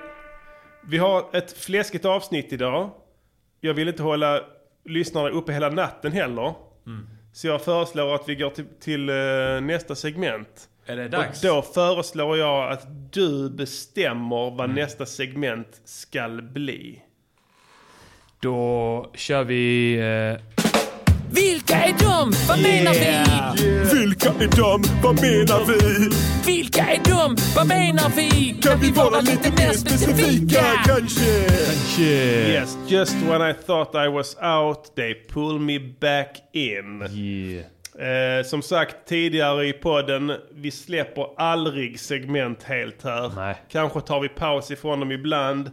A: vi har ett fläskigt avsnitt idag. Jag vill inte hålla lyssnarna uppe hela natten heller. Så jag föreslår att vi går till, till eh, nästa segment.
B: Är det
A: Och
B: dags?
A: då föreslår jag att du bestämmer vad nästa segment skall bli.
B: Då kör vi... Eh,
I: Vilka är de? Vad menar vi?
C: Vilka är de? Vad menar vi?
I: Vilka är de? Vad menar vi?
C: Kan vi vara lite mer specifika? Kanske?
B: Eh,
A: Yes, just when I thought I was out, they pull me back in. Eh, som sagt tidigare i podden, vi släpper aldrig segment helt här.
B: Nej.
A: Kanske tar vi paus ifrån dem ibland.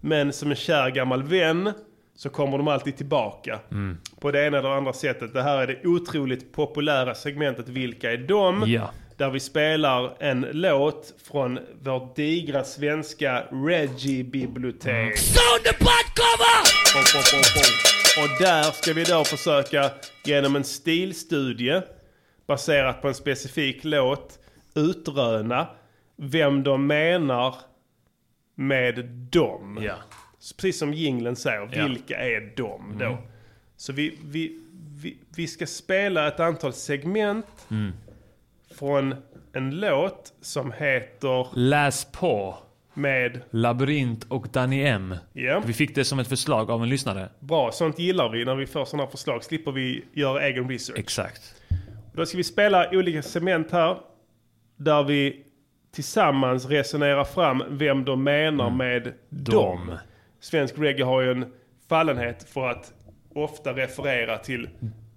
A: Men som en kär gammal vän så kommer de alltid tillbaka.
B: Mm.
A: På det ena eller andra sättet. Det här är det otroligt populära segmentet Vilka är de?
B: Ja.
A: Där vi spelar en låt från vårt digra svenska Reggie-bibliotek.
B: Mm.
A: Pom, pom, pom, pom. Och där ska vi då försöka genom en stilstudie baserat på en specifik låt utröna vem de menar med dem.
B: ja.
A: Precis som jinglen säger,
B: Ja. Mm.
A: vilka är de då? Så vi, vi, vi, vi ska spela ett antal segment
B: Mm.
A: från en låt som heter
B: Läs på.
A: med...
B: Labyrint och Danny M.
A: Ja.
B: Vi fick det som ett förslag av en lyssnare.
A: Bra, sånt gillar vi när vi får sådana förslag. Slipper vi göra egen research.
B: Exakt.
A: Då ska vi spela olika segment här. Där vi tillsammans resonerar fram vem de menar med dem.
B: Mm. Dom.
A: Svensk reggae har ju en fallenhet för att ofta referera till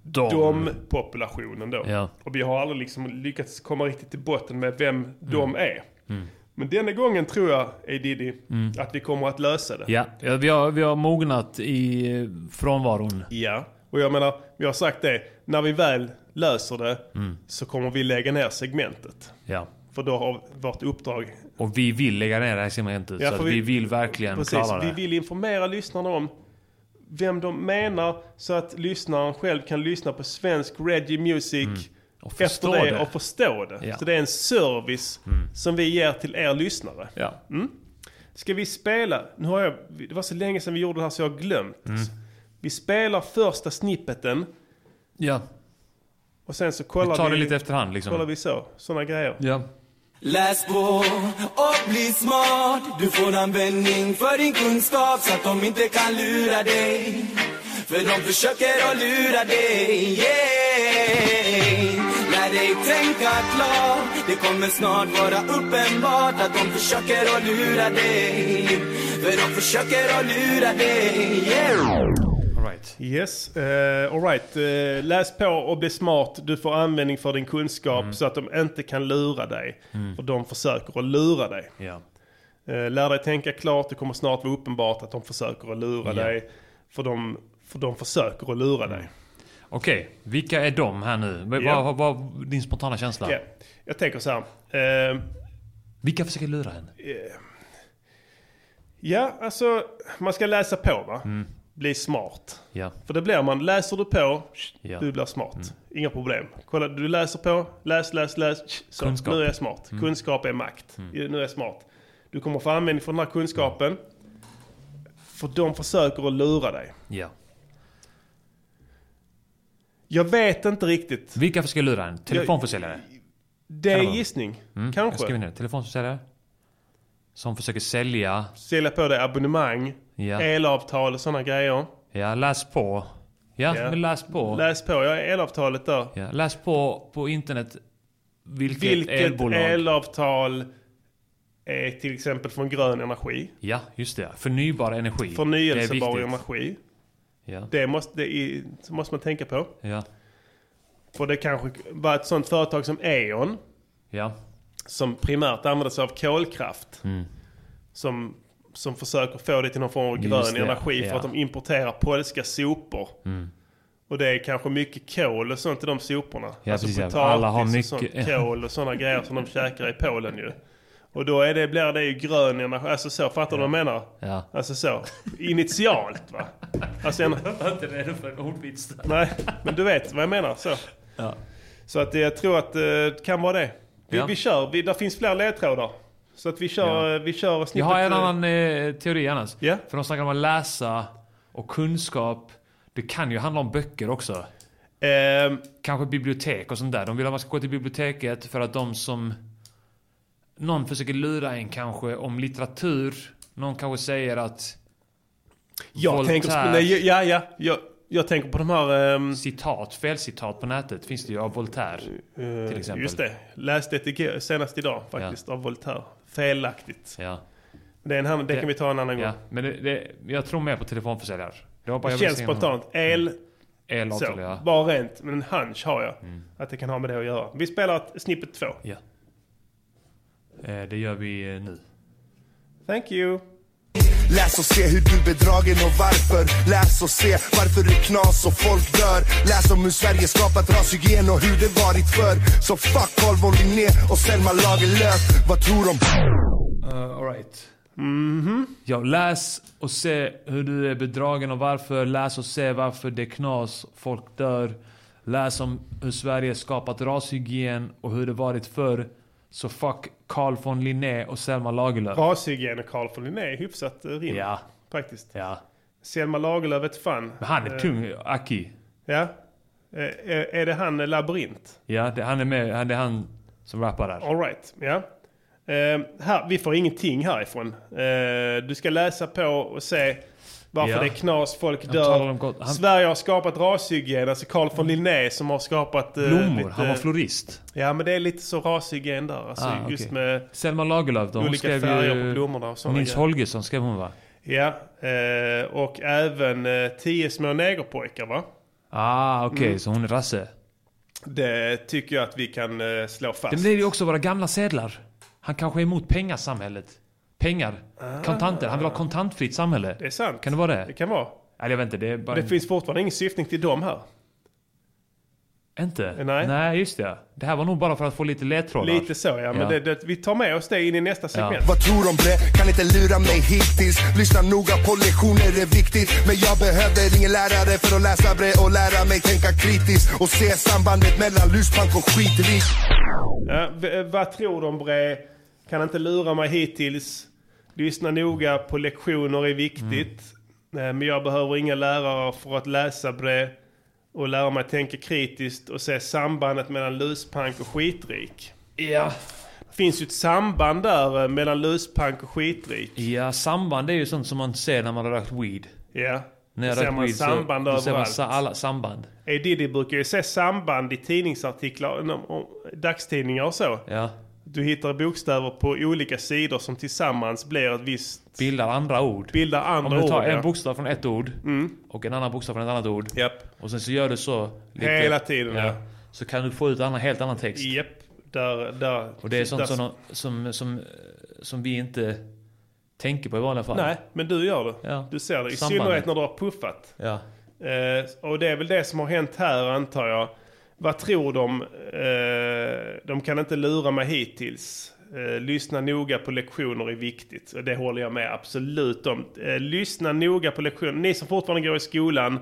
B: Dom.
A: dom-populationen då.
B: Ja.
A: Och vi har aldrig liksom lyckats komma riktigt till botten med vem
B: Mm.
A: de är. Men denna gången tror jag, Edidi, att vi kommer att lösa det.
B: Mm. Ja, ja, vi har, vi har mognat i eh, frånvaron.
A: Ja, och jag menar, vi har sagt det, när vi väl löser det
B: Mm.
A: så kommer vi lägga ner segmentet.
B: Ja.
A: För då har vårt uppdrag,
B: Och vi vill lägga ner det här segmentet.
A: Ja,
B: så
A: för
B: att vi,
A: vi-
B: vill verkligen
A: precis,
B: klara det.
A: vi vill informera lyssnarna om vem de menar så att lyssnaren själv kan lyssna på svensk reggae music
B: Mm. Och
A: efter
B: förstå
A: det,
B: det.
A: och förstå det.
B: Ja. Mm.
A: Så det är en service som vi ger till er lyssnare.
B: Ja.
A: Ska vi spela? Nu har jag, det var så länge sedan vi gjorde det här så jag har glömt.
B: Mm.
A: Vi spelar första snippeten
B: Ja.
A: och sen så
B: Vi
A: kollar
B: tar
A: vi,
B: det lite efterhand
A: kollar
B: liksom.
A: vi så. Sådana grejer.
B: Ja.
H: Läs på och bli smart. Du får användning för din kunskap så att de inte kan lura dig. För de försöker att lura dig, yeah. Lär dig tänka klart. Det kommer snart vara uppenbart att de försöker att lura dig. För de försöker att lura dig, yeah.
B: Alright.
A: Yes, uh, alright. läs på och bli smart. Du får användning för din kunskap så att de inte kan lura dig. För de försöker att lura dig.
B: Ja.
A: Eh, Lär dig tänka klart, det kommer snart vara uppenbart att de försöker att lura dig. För de, för de försöker att lura dig.
B: Okej, vilka är de här nu? Vad
A: Ja.
B: vad- vad var din spontana känsla?
A: Ja. Jag tänker så här. eh,
B: Vilka försöker lura henne?
A: ja, alltså man ska läsa på va? Bli smart.
B: Ja.
A: För det blir man. Läser du på,
B: Ja. Mm.
A: du blir smart. Inga problem. Kolla, du läser på, läs, läs, läs. Så,
B: Kunskap. Mm.
A: nu är jag smart. Kunskap är makt. Nu är jag smart. Du kommer få användning för den här kunskapen. För de försöker att lura dig.
B: ja.
A: Jag vet inte riktigt.
B: Vilka försöker lura henne? Telefonförsäljare?
A: Det är
B: Kan det
A: en
B: vara?
A: gissning.
B: Mm. Jag
A: Kanske.
B: skriver ner det. Telefonförsäljare? Som försöker sälja.
A: Sälja på dig abonnemang,
B: Ja.
A: elavtal och sådana grejer.
B: Ja, läs på. Ja,
A: Ja.
B: men läs på.
A: Läs på, jag har elavtalet där.
B: ja, läs på på internet. Vilket,
A: Vilket
B: elbolag.
A: elavtal är till exempel från grön energi?
B: Ja, just det. Förnybar energi.
A: Förnyelsebar
B: det är viktigt.
A: energi.
B: Ja,
A: Det måste, det är, så måste man tänka på.
B: ja,
A: För det kanske var ett sånt företag som E.ON
B: ja.
A: som primärt använder sig av kolkraft.
B: Mm.
A: Som, som försöker få det till någon form av grön
B: det,
A: energi för
B: ja. Mm.
A: att de importerar polska sopor. Och det är kanske mycket kol och sånt i de soporna. Alltså
B: Ja, precis, ja. Alla har mycket-
A: och sånt, kol och sådana grejer som de käkar i Polen ju. Och då är det, blir det ju grön energi. Alltså så, fattar du vad jag menar?
B: Ja.
A: Alltså så, initialt va? Alltså en,
B: Jag är inte redo för en ordvits där.
A: nej, men du vet vad jag menar. Så,
B: Ja.
A: så att jag tror att eh, det kan vara det. Vi,
B: Ja.
A: vi kör, vi, där finns fler ledtrådar. Så att vi kör, eh, vi kör snippet.
B: Jag har en
A: eh,
B: annan eh, teori annars.
A: Ja.
B: För de snackar om att läsa och kunskap. Det kan ju handla om böcker också.
A: Ehm,
B: Kanske bibliotek och sånt där. De vill att man ska gå till biblioteket för att de som... Någon försöker lura en kanske om litteratur. Någon kanske säger att
A: jag
B: Voltaire.
A: tänker... Nej, ja, ja. Jag, jag tänker på de här... ehm,
B: citat, felcitat på nätet finns det ju av Voltaire.
A: eh,
B: till exempel.
A: Just det. Läste ett igår, senast idag faktiskt av Voltaire. Felaktigt.
B: Ja.
A: Det, är en, annan- det kan vi ta en annan
B: ja.
A: gång.
B: Men det, det, jag tror mer på telefonförsäljare. Det, var bara
A: Det
B: jag
A: känns
B: ville se Mm. någon
A: spontant. El, så.
B: Elavtal, ja. Mm.
A: Bara rent. Men en hunch har jag. Att det kan ha med det att göra. Vi spelar ett snippet två.
B: ja. Eh, Det gör vi eh, nu.
A: Thank you.
C: Läs och se hur du bedragen och varför Läs och se varför det är knas och folk dör Läs om hur Sverige skapat rashygien och hur det varit förr Så fuck Carl von Linné och Selma Lagerlöf Vad tror de?
B: Uh, Alright.
A: Mm-hmm.
B: Ja, läs och se hur du är bedragen och varför. Läs och se varför det är knas, folk dör. Läs om hur Sverige skapat rashygien och hur det varit förr. Så fuck Carl von Linné och Selma Lagerlöf.
A: Rashygien och Carl von Linné är hyfsat eh, rim.
B: Ja,
A: Faktiskt.
B: ja.
A: Selma Lagerlöf ett fan.
B: Men han är tung, Aki.
A: Ja. Eh, eh, är det han eh, Labyrint?
B: Ja, det, han är med. Han, det är han som rappar där.
A: Alright, ja. Eh, här, vi får ingenting härifrån. Eh, du ska läsa på och se varför
B: Ja.
A: det är knas, folk
B: talar
A: dör.
B: om gott- han- Mm.
A: Sverige har skapat rashygien, alltså Carl von Linné som har skapat... eh,
B: Blommor.
A: lite-
B: Han var florist.
A: Ja, men det är lite så rashygien där. Alltså,
B: Ah,
A: just
B: okej.
A: med
B: Selma Lagerlöf då. Hon
A: olika
B: skrev
A: färger på
B: ju...
A: blommorna och sådana
B: Nils
A: grejer.
B: Holgersson skrev hon va?
A: Ja, eh, och även eh, Tio små negerpojkar va?
B: Ah, okej.
A: Mm.
B: Så hon är rasse.
A: Det tycker jag att vi kan eh, slå fast.
B: Det blir ju också våra gamla sedlar. Han kanske är emot pengasamhället. Pengar. Kontanter. Han vill ha kontantfritt samhälle.
A: Ah. Det är sant.
B: Kan det vara det?
A: Det kan vara.
B: Eller jag vet inte. Det är bara...
A: Det
B: en-
A: finns fortfarande ingen syftning till dem här.
B: Inte?
A: Nej.
B: just det. Det här var nog bara för att få lite ledtrådar.
A: Lite så ja, men
B: Ja.
A: Det, det, vi tar med oss det in i nästa segment.
C: Vad tror de bre? Kan inte lura mig hittills Lyssna noga på lektioner är viktigt Men jag behöver ingen lärare för att läsa bre och lära mig tänka kritiskt och se sambandet mellan luspank och skitrik
A: eh, Ja, v- vad tror de Bre? Kan inte lura mig hittills. Lyssna noga på lektioner är viktigt.
B: Mm.
A: Eh, Men jag behöver inga lärare för att läsa på det och lära mig tänka kritiskt och se sambandet mellan luspank och skitrik.
B: Ja.
A: Det finns ju ett samband där eh, mellan luspank och skitrik.
B: Ja, samband det är ju sånt som man ser när man har rökt weed.
A: Ja.
B: När
A: Då ser man samband
B: då ser man
A: överallt.
B: sa- alla samband.
A: A. Diddy brukar ju se samband i tidningsartiklar, om- om- dagstidningar och så.
B: Ja.
A: Du hittar bokstäver på olika sidor som tillsammans blir ett visst...
B: Bildar andra ord.
A: Bildar
B: Om
A: andra
B: du tar
A: ord,
B: en
A: ja. Mm.
B: bokstav från ett ord och en annan bokstav från ett annat ord.
A: Japp.
B: Och sen så gör du så.
A: Hela tiden, ja.
B: Så kan du få ut en annan, helt annan text.
A: Japp. Där, där.
B: Och det är sånt
A: där,
B: som, som, som, som vi inte tänker på i vanliga fall.
A: Nej, men du gör det.
B: Ja.
A: Du ser det. I
B: Sambandet.
A: synnerhet när du har puffat.
B: Ja.
A: Eh, och det är väl det som har hänt här antar jag. Vad tror de? Eh, de kan inte lura mig hittills. Eh, lyssna noga på lektioner är viktigt. Och Det håller jag med absolut om. Eh, lyssna noga på lektioner. Ni som fortfarande går i skolan,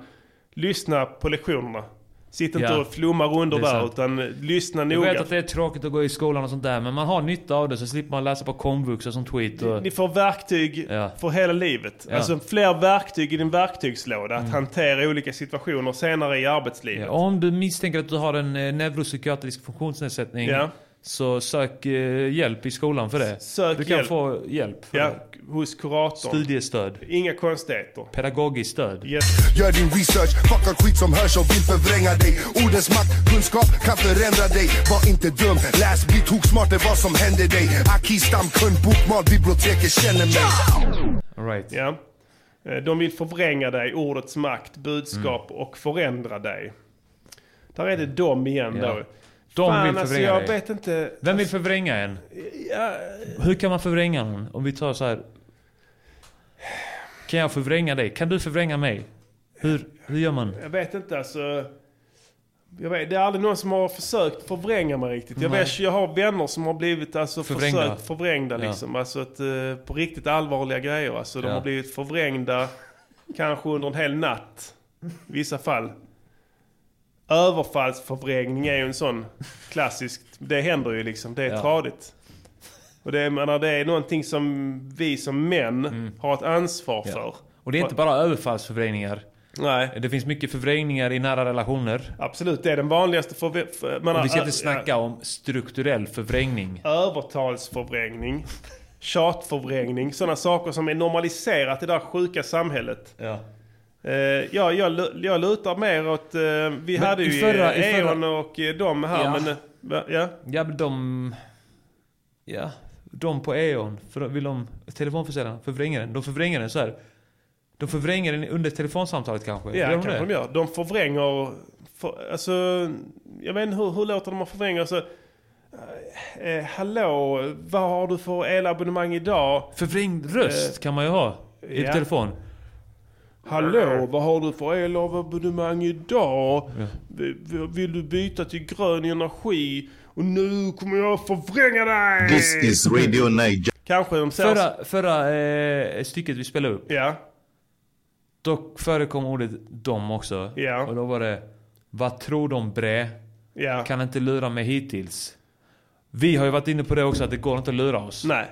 A: lyssna på lektionerna. Sitt inte
B: Ja.
A: och flumma runt
B: Det är
A: där
B: sant.
A: utan eh, lyssna
B: Jag
A: noga.
B: vet att det är tråkigt att gå i skolan och sånt där, men man har nytta av det så slipper man läsa på komvux och sånt skit. Och...
A: Ni får verktyg
B: Ja.
A: för hela livet.
B: Ja. Mm.
A: Alltså fler verktyg i din verktygslåda. Att hantera olika situationer senare i arbetslivet.
B: Ja, Om du misstänker att du har en eh, neuropsykiatrisk funktionsnedsättning
A: Ja.
B: så sök eh, hjälp i skolan för det.
A: Sök
B: du kan
A: hjälp.
B: få hjälp. För
A: Ja,
B: det.
A: hos kuratorn.
B: Studiestöd.
A: Inga konstigheter.
B: Pedagogiskt stöd.
C: Gör din research, fucka skit som hörs och vill förvränga dig Ordens makt, kunskap kan förändra dig Var inte dum, läs, bli toksmart, det är vad som händer dig Aki, stamkund, bokmal, biblioteket känner mig
B: All right.
A: Ja. Eh, De vill förvränga dig, ordets makt, budskap
B: Mm.
A: och förändra dig. Där är det de igen
B: Ja.
A: då.
B: De
A: Fan,
B: vill
A: alltså,
B: förvränga
A: jag
B: dig.
A: vet inte.
B: Vem vill förvränga en? Hur kan man förvränga någon? Om vi tar så här. Kan jag förvränga dig? Kan du förvränga mig? Hur, hur gör man?
A: Jag vet inte alltså. Jag vet, det är aldrig någon som har försökt förvränga mig riktigt. Jag,
B: Nej.
A: vet, jag har vänner som har blivit alltså,
B: Förvrängda.
A: försökt förvrängda.
B: Ja.
A: Liksom. Alltså, att, eh, på riktigt allvarliga grejer. Alltså, De
B: Ja.
A: har blivit förvrängda kanske under en hel natt. I vissa fall. Överfallsförvrängning är ju en sån klassisk. Det händer ju liksom. Det är
B: Ja.
A: tradigt. Och det, är- jag menar, det är någonting som vi som män
B: Mm.
A: har ett ansvar för.
B: Och det är inte bara överfallsförvrängningar.
A: Nej.
B: Det finns mycket förvrängningar i nära relationer.
A: Absolut, det är den vanligaste förvä- för, man
B: Och vi ska inte snacka om strukturell förvrängning.
A: Övertalsförvrängning, tjatförvrängning, sådana saker som är normaliserat i det där sjuka samhället.
B: Ja.
A: Eh, ja, jag, lu- jag lutar mer åt... Eh, vi hade
B: i
A: ju
B: förra-
A: förra,
B: i förra-
A: Eon och eh, de här,
B: Ja.
A: men... eh, va- Ja,
B: Ja, men de... Ja, de på E.ON. För de- vill de... Telefonförsäljarna förvränger den. De förvränger den så här. De förvränger den under telefonsamtalet kanske.
A: ja
B: Gör de
A: kanske
B: det?
A: de gör. De förvränger... För, alltså, jag vet inte, hur, hur låter de att förvränga? Alltså, eh, eh, hallå, vad har du för elabonnemang idag?
B: Förvrängd röst kan man ju ha. I
A: Eh, ja.
B: telefon.
A: Hallå, vad har du för elabonnemang idag? V- v- Vill du byta till grön energi? Och nu kommer jag förvränga dig!
D: This is Radio Niger.
A: Kanske de säger...
B: Förra, förra eh, stycket vi spelade upp.
A: Ja,
B: Då förekom ordet dom också.
A: Ja.
B: Och då var det... Vad tror de bre?
A: ja.
B: Kan inte lura mig hittills. Vi har ju varit inne på det också att det går inte att lura oss.
A: Nej.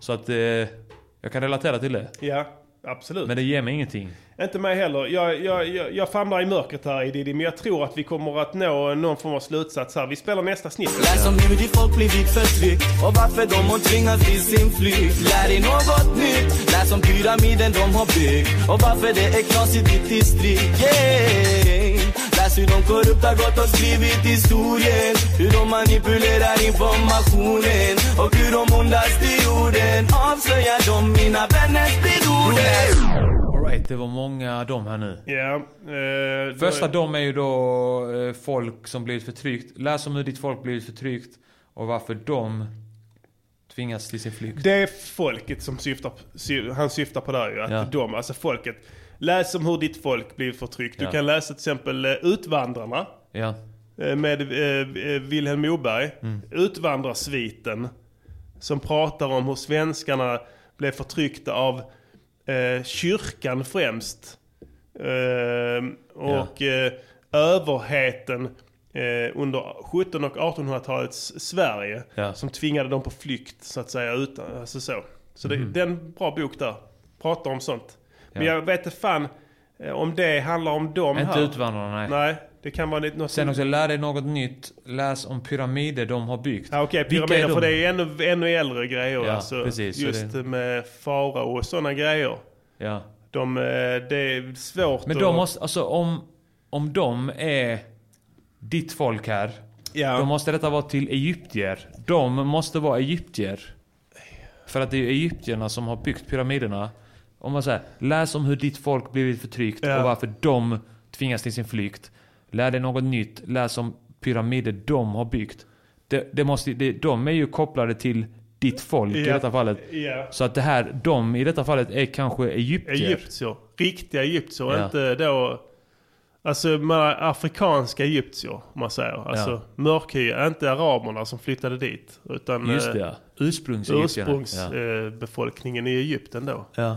B: Så att eh, jag kan relatera till det.
A: Ja, absolut.
B: Men det ger mig ingenting.
A: Inte mig heller. Jag, jag, jag, jag famlar i mörkret här i Diddy, men jag tror att vi kommer att nå någon form av slutsats här. Vi spelar nästa snitt.
H: Lär som nu ditt folk blivit förtryckt och varför de har tvingats till sin flykt. Lär dig något nytt, lär som pyramiden de har byggt och varför det är knas i ditt distrikt. Yeah. Läs hur de korrupta gått och skrivit historien, hur de manipulerar informationen och hur de ondaste i jorden avslöjar de mina vänners bedorden.
B: Alright, det var många dom här nu.
A: Ja. Eh, då-
B: Första dom är ju då eh, folk som blivit förtryckt. Läs om hur ditt folk blivit förtryckt och varför de tvingas till sin flykt.
A: Det är folket som syftar, sy, han syftar på där ju. Att
B: Ja.
A: de, alltså folket. Läs om hur ditt folk blir förtryckt.
B: Ja.
A: Du kan läsa till exempel eh, Utvandrarna
B: Ja.
A: eh, med eh, eh, Vilhelm Moberg. Utvandrarsviten. Som pratar om hur svenskarna blev förtryckta av eh, kyrkan främst. Ehm, och eh, överheten eh, under 17 och 1800-talets Sverige.
B: Ja.
A: Som tvingade dem på flykt så att säga. Utan, alltså så. Så det,
B: Mhm.
A: det är en bra bok där. Pratar om sånt. Men
B: Ja.
A: jag vet inte fan eh, om det handlar om dem
B: Inte
A: här.
B: Utvandrarna, nej.
A: Nej, det kan vara lite något
B: Sen också, lär dig något nytt. Läs om pyramider de har byggt.
A: Ja, Ah, Okej,
B: Vilka är
A: pyramider, för
B: de?
A: det är ju ännu, ännu äldre grejer.
B: Ja,
A: alltså,
B: precis, så
A: just med farao och sådana grejer.
B: Ja.
A: De, eh, det är svårt
B: Men
A: att-
B: de måste, alltså om, om de är ditt folk här.
A: Ja.
B: Då måste detta vara till egyptier. De måste vara egyptier. För att det är ju egyptierna som har byggt pyramiderna. Om man säger, läs om hur ditt folk blivit förtryckt
A: Ja.
B: och varför de tvingas till sin flykt. Lär dig något nytt, läs om pyramider de har byggt. Det, det måste, det, de är ju kopplade till ditt folk i
A: Ja.
B: detta fallet.
A: Ja.
B: Så att det här, de i detta fallet är kanske egyptier.
A: Egyptier. Riktiga egyptier.
B: Ja.
A: Inte då... Alltså man, afrikanska egyptier, om man säger. Alltså
B: Ja.
A: mörkhyade. Inte araberna som flyttade dit. Utan
B: Just det,
A: eh,
B: ja. Ursprungsegyptierna. Ja.
A: ursprungsbefolkningen i Egypten då.
B: Ja.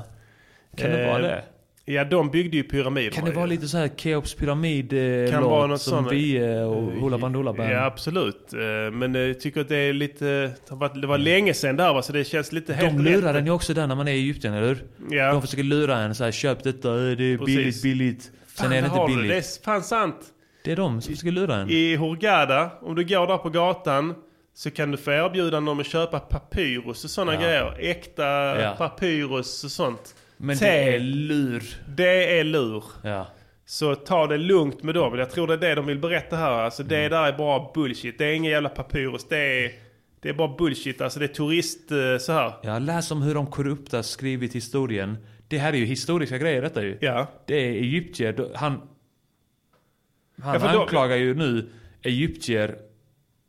B: Kan det
A: Eh,
B: vara det?
A: Ja, de byggde ju pyramider.
B: Kan det
A: ju.
B: vara lite så här Keops
A: Kan vara
B: pyramid-låt
A: något
B: som
A: sånt.
B: vi eh, och Hoola Bandoola Band?
A: Ja, absolut. Eh, Men eh, jag tycker att det är lite... det har varit- Det var länge sedan det här va, så det känns lite helt
B: De lurar
A: rätt.
B: den ju också där när man är i Egypten, eller hur?
A: Ja.
B: De försöker lura en så här, köp detta, eh, det är
A: Precis.
B: billigt, billigt. Sen
A: Fan,
B: är det
A: där har
B: inte
A: du Det
B: billigt.
A: är fan sant.
B: Det är de som försöker lura en.
A: I Hurghada, om du går där på gatan så kan du få erbjudande om att köpa papyrus och sådana
B: Ja.
A: grejer. Äkta
B: Ja.
A: papyrus och sånt.
B: Men
A: Te.
B: det är lur.
A: Det är lur.
B: Ja.
A: Så ta det lugnt med dem. Jag tror det är det de vill berätta här. Alltså
B: Mm.
A: det där är bara bullshit. Det är ingen jävla papyrus. Det är, det är bara bullshit. Alltså det är turist eh, så här.
B: ja, läs om hur de korrupta skrivit historien. Det här är ju historiska grejer detta ju.
A: Ja.
B: Det är egyptier. då- Han, han
A: Ja, för då-
B: anklagar ju nu egyptier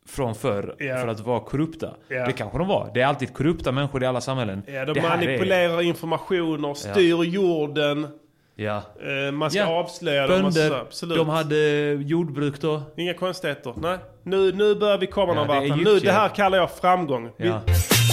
B: från förr
A: Ja.
B: för att vara korrupta.
A: Ja.
B: Det kanske de var. Det är alltid korrupta människor i alla samhällen.
A: Ja, de
B: det här Är,
A: manipulerar informationer, styr jorden.
B: ja.
A: Eh, Man ska
B: Ja.
A: avslöja dem. och så-
B: Bönder,
A: Absolut.
B: de hade jordbruk då.
A: Inga konstigheter. Nej. Nu, nu börjar vi komma någon
B: det är
A: vart. Nu, det
B: egyptier.
A: här kallar jag framgång. Vi-
B: Ja.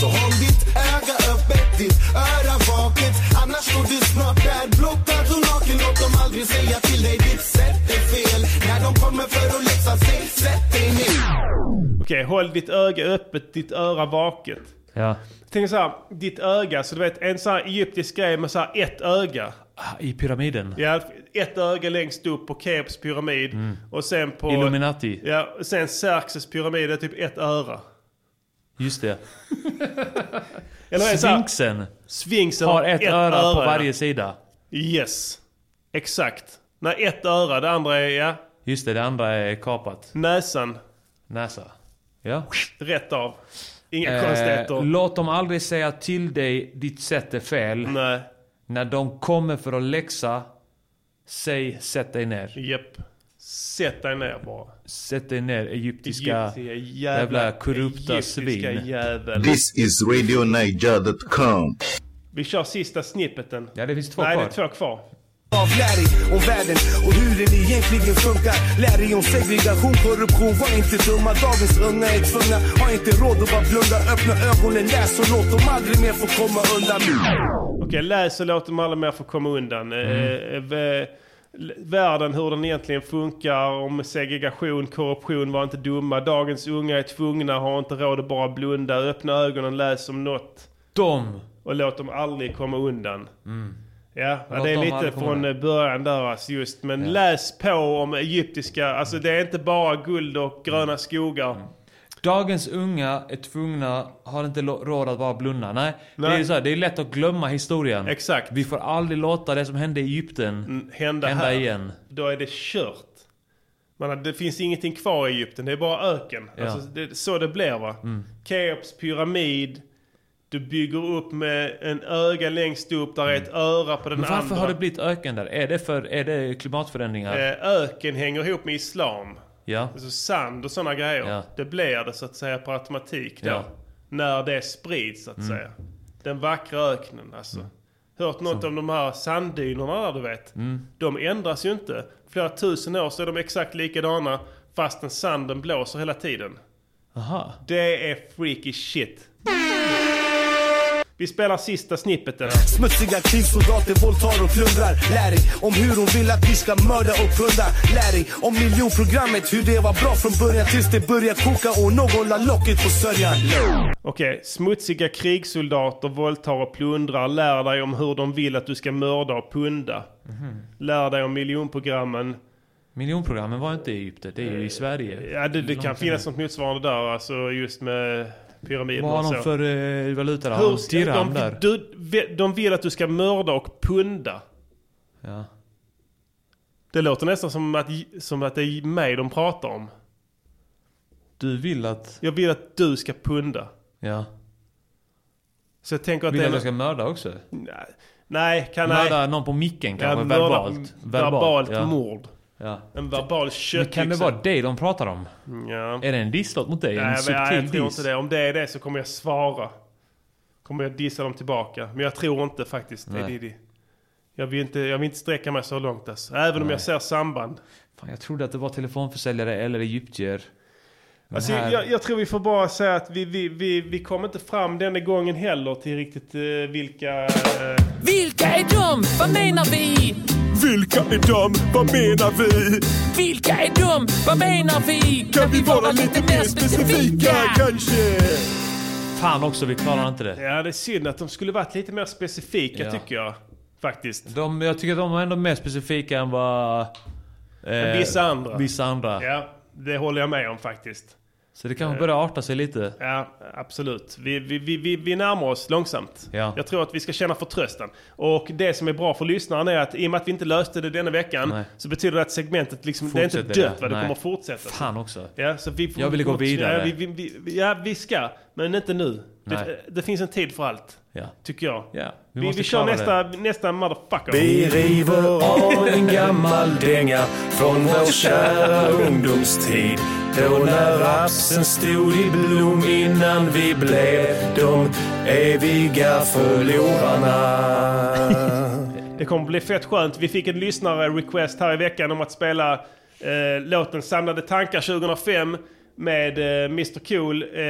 C: Så håll ditt öga öppet, ditt öra vaket Annars står du snart där blottad och naken Låt dem aldrig säga till dig ditt sätt är fel När de kommer för att läxa sig, sätt dig ner
A: Okej, håll ditt öga öppet, ditt öra vaket.
B: Ja.
A: Tänk så här, ditt öga. Så du vet, en sån här egyptisk grej med så här ett öga.
B: Ah, I pyramiden.
A: Ja, ett öga längst upp på Keops pyramid. Och sen på...
B: Mm. Illuminati.
A: Ja, och sen Xerxes pyramid det är typ ett öra.
B: Just det.
A: Eller en sån här,
B: Sphinxen
A: Sphinxen
B: har ett, öra, på varje sida.
A: Yes. Exakt. Nej, ett öra. Det andra är, ja,
B: Just det, det andra är kapat.
A: näsan.
B: Näsa. Ja.
A: Rätt av. Inga
B: Eh,
A: konstigheter.
B: låt dem aldrig säga till dig ditt sätt är fel.
A: Nej.
B: När de kommer för att läxa, säg sätt dig ner.
A: Japp. Sätt dig ner bara.
B: Sätt dig ner egyptiska
A: Egyptiska
B: jävla, korrupta
A: egyptiska
B: svin.
A: Jävel.
D: This is RadioNiger.com.
A: Vi kör sista snippeten.
B: Ja, det finns två
A: Nej,
B: kvar.
A: det är två kvar.
C: Av lär dig om världen och hur den egentligen funkar Lär dig om segregation, korruption, var inte dumma Dagens unga är tvungna, har inte råd att bara blunda Öppna ögonen, läs och låt dem aldrig mer få komma undan
A: Okej, läs och låt dem alla mer få komma undan.
B: Mm.
A: Eh, v- l- världen, hur den egentligen funkar, om segregation, korruption, var inte dumma. Dagens unga är tvungna, har inte råd att bara blunda. Öppna ögonen, läs om något
B: De!
A: och låt dem aldrig komma undan. Ja, ja,
B: Mm. Låt
A: det är
B: dem aldrig
A: lite
B: komma
A: från eh, början där alltså just. Men läs på om egyptiska, alltså det är inte bara guld
B: Mm.
A: och gröna skogar.
B: Dagens unga är tvungna, har inte lo- råd att bara blunda. Nej, Det, är
A: Nej.
B: ju så här, det är lätt att glömma historien.
A: Exakt. Mm.
B: Vi får aldrig låta det som hände i Egypten
A: Hända,
B: hända
A: här.
B: igen.
A: Då är det kört. Man, det finns ingenting kvar i Egypten, det är bara öken.
B: Ja. Mm.
A: Alltså, det, så det blir va? Keops pyramid, du bygger upp med en öga längst upp, där är ett öra på den
B: Mm. Men varför
A: andra.
B: har det blivit öken där? Är det, för, är det klimatförändringar?
A: Eh, Öken hänger ihop med islam.
B: ja.
A: Alltså sand och sådana grejer.
B: Ja.
A: Det blir det så att säga på automatik då.
B: Ja. Mm.
A: När det sprids så att säga. Den vackra öknen alltså. Hört något om de här sanddynerna där du vet?
B: Mm.
A: De ändras ju inte. Flera tusen år så är de exakt likadana fastän sanden blåser hela tiden.
B: Aha.
A: Det är freaky shit. Vi spelar sista snippeten här.
J: Smutsiga krigssoldater våldtar och plundrar. Lär dig om hur hon vill att vi ska mörda och plundra. Lär dig om miljonprogrammet, hur det var bra från början tills det började koka och någon la locket på sörjan.
A: Okej, smutsiga krigssoldater våldtar och plundrar. Lär dig om hur de vill att du ska mörda och punda.
B: Mhm.
A: Lär dig om miljonprogrammen.
B: Miljonprogrammen var inte i Egypten, det är ju i Sverige.
A: Eh, Ja, det, det kan finnas något motsvarande där, alltså just med pyramider
B: Vad har
A: och
B: de
A: så.
B: för eh, valuta där?
A: Hur
B: Hur,
A: ska-
B: dirham
A: de,
B: där?
A: du, ve- de vill att du ska mörda och punda.
B: Ja.
A: Det låter nästan som att, som att det är mig de pratar om.
B: Du vill att...
A: Jag vill att du ska punda.
B: Ja.
A: Så jag tänker att
B: Vill
A: det
B: att
A: är...
B: jag ska mörda också?
A: Nej, nej kan nej.
B: Mörda någon på micken kanske?
A: mörda-
B: verbalt?
A: Verbalt
B: ja.
A: mord.
B: Ja.
A: En verbal
B: Men
A: köttyxa.
B: kan det vara det de pratar om?
A: Ja.
B: Är det en disslåt mot dig? en
A: Nej, men,
B: subtil
A: nej, jag tror
B: diss?
A: inte det. Om det är det så kommer jag svara. Kommer jag dissa dem tillbaka. Men jag tror inte faktiskt det.
B: Nej.
A: det, det. Jag, vill inte, jag vill inte sträcka mig så långt alltså. Även om
B: Nej.
A: jag ser samband.
B: Fan, jag trodde att det var telefonförsäljare eller egyptier. Men
A: Alltså,
B: här-
A: jag, jag tror vi får bara säga att vi, vi, vi, vi kom inte fram denna gången heller till riktigt eh, vilka... Eh,
K: Vilka är de? Vad menar vi?
J: Vilka är de? Vad menar vi?
K: Vilka är de? Vad menar vi?
J: Kan vi vara lite mer specifika kanske?
B: Fan också, vi klarar inte det.
A: ja, det är synd att de skulle varit lite mer specifika
B: Ja.
A: tycker jag. Faktiskt.
B: De, jag tycker att de var ändå mer specifika än vad... eh,
A: vissa andra.
B: Vissa andra.
A: Ja, det håller jag med om faktiskt.
B: Så det kanske börjar arta sig lite.
A: Ja, absolut. Vi, vi, vi, vi, vi närmar oss långsamt.
B: Ja.
A: Jag tror att vi ska känna förtröstan. Och det som är bra för lyssnaren är att i och med att vi inte löste det denna veckan
B: Nej.
A: så betyder det att segmentet liksom, det är inte
B: Fortsätter det.
A: dött. Va? Det
B: Nej.
A: kommer fortsätta.
B: Fan också.
A: Ja, så vi får,
B: Jag ville gå vidare.
A: Ja, vi, vi, vi, ja, vi ska. Men inte nu. Det,
B: Nej.
A: det finns en tid för allt,
B: Ja.
A: tycker jag.
B: Ja,
A: vi,
B: vi
A: vi,
B: måste
A: kör
B: klara
A: nästa, nästa motherfucker.
L: Vi river av en gammal dänga från vår kära ungdomstid. Då när rapsen stod i blom innan vi blev de eviga förlorarna.
A: Det kommer bli fett skönt. Vi fick en lyssnare-request här i veckan om att spela eh, låten Samlade tankar 2005 med eh, Mr Cool eh,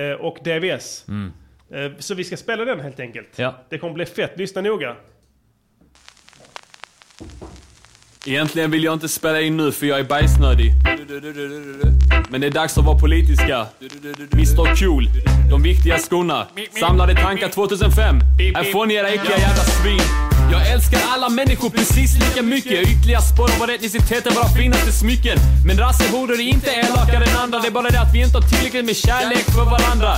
A: eh, och DVS. Eh, så vi ska spela den helt enkelt.
B: Ja.
A: Det kommer bli fett. Lyssna noga.
L: Egentligen vill jag inte spela in nu för jag är bajsnödig. Men det är dags att vara politiska. Mr Cool, de viktiga skorna. Samlade tankar 2005. Härifrån era äckliga jävla svin. Jag älskar alla människor precis lika mycket. Ytliga spår av vår etnicitet är våra finaste smycken. Men rassehoror är inte elakare än andra. Det är bara det att vi inte har tillräckligt med kärlek för varandra.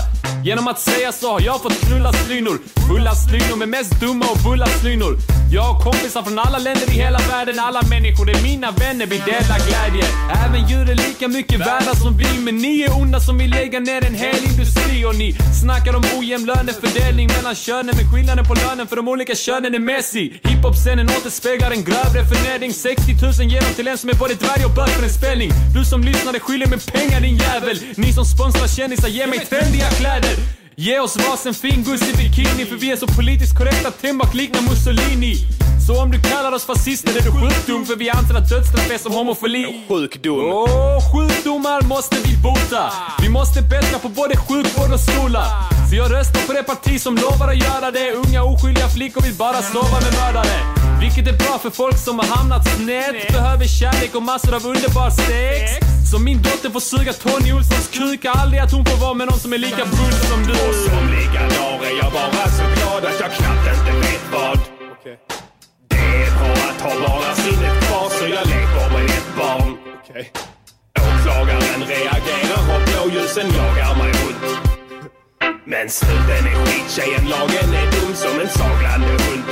L: Genom att säga så har jag fått knulla slynor. Fulla slynor med mest dumma och bulla slynor. Jag har kompisar från alla länder i hela världen. Alla människor är mina vänner, vi delar glädje. Även djur är lika mycket värda som vi. Men ni är onda som vill lägga ner en hel industri. Och ni snackar om ojämn lönefördelning mellan könen. Men skillnaden på lönen för de olika könen är Messi. Hiphop-scenen återspeglar en grövre förnedring. 60 000 ger de till en som är både dvärg och bög för en spänning. Du som lyssnade skyller mig pengar din jävel. Ni som sponsrar kändisar, ge mig trendiga kläder. Ge oss varsin fin guss i bikini för vi är så politiskt korrekta att Timbuk liknar Mussolini. Så om du kallar oss fascister är du sjukdom för vi anser att dödsstraff är som homofili. Sjukdom. Åh, sjukdomar måste vi bota. Vi måste bättra på både sjukvård och skola. Så jag röstar på det parti som lovar att göra det. Unga oskyldiga flickor vill bara sova med mördare. Vilket är bra för folk som har hamnat snett. Behöver kärlek och massor av underbar sex. Så min dotter får suga Tony Olssons kuk. Aldrig att hon får vara med någon som är lika bull som du.
M: Som ligger är jag bara så glad att jag knappt inte vet vad. Det är bra att ha bara sinnet kvar så jag leker med ett barn. Åklagaren reagerar och blåljusen jagar mig runt. Men snuten är skittjejen, lagen är dum som en saglande hund.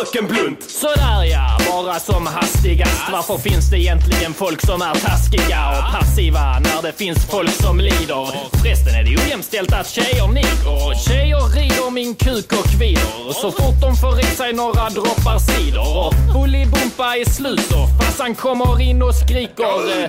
M: Röken blunt!
N: Sådär ja, bara som hastigast. Varför finns det egentligen folk som är taskiga och passiva Ah, när det finns folk som lider? Förresten är det ojämställt att tjejer niger. Tjejer rider min kuk och kvider så fort de får i sig några droppar cider. Och Bullybumpa är slut och farsan kommer in och skriker. eh,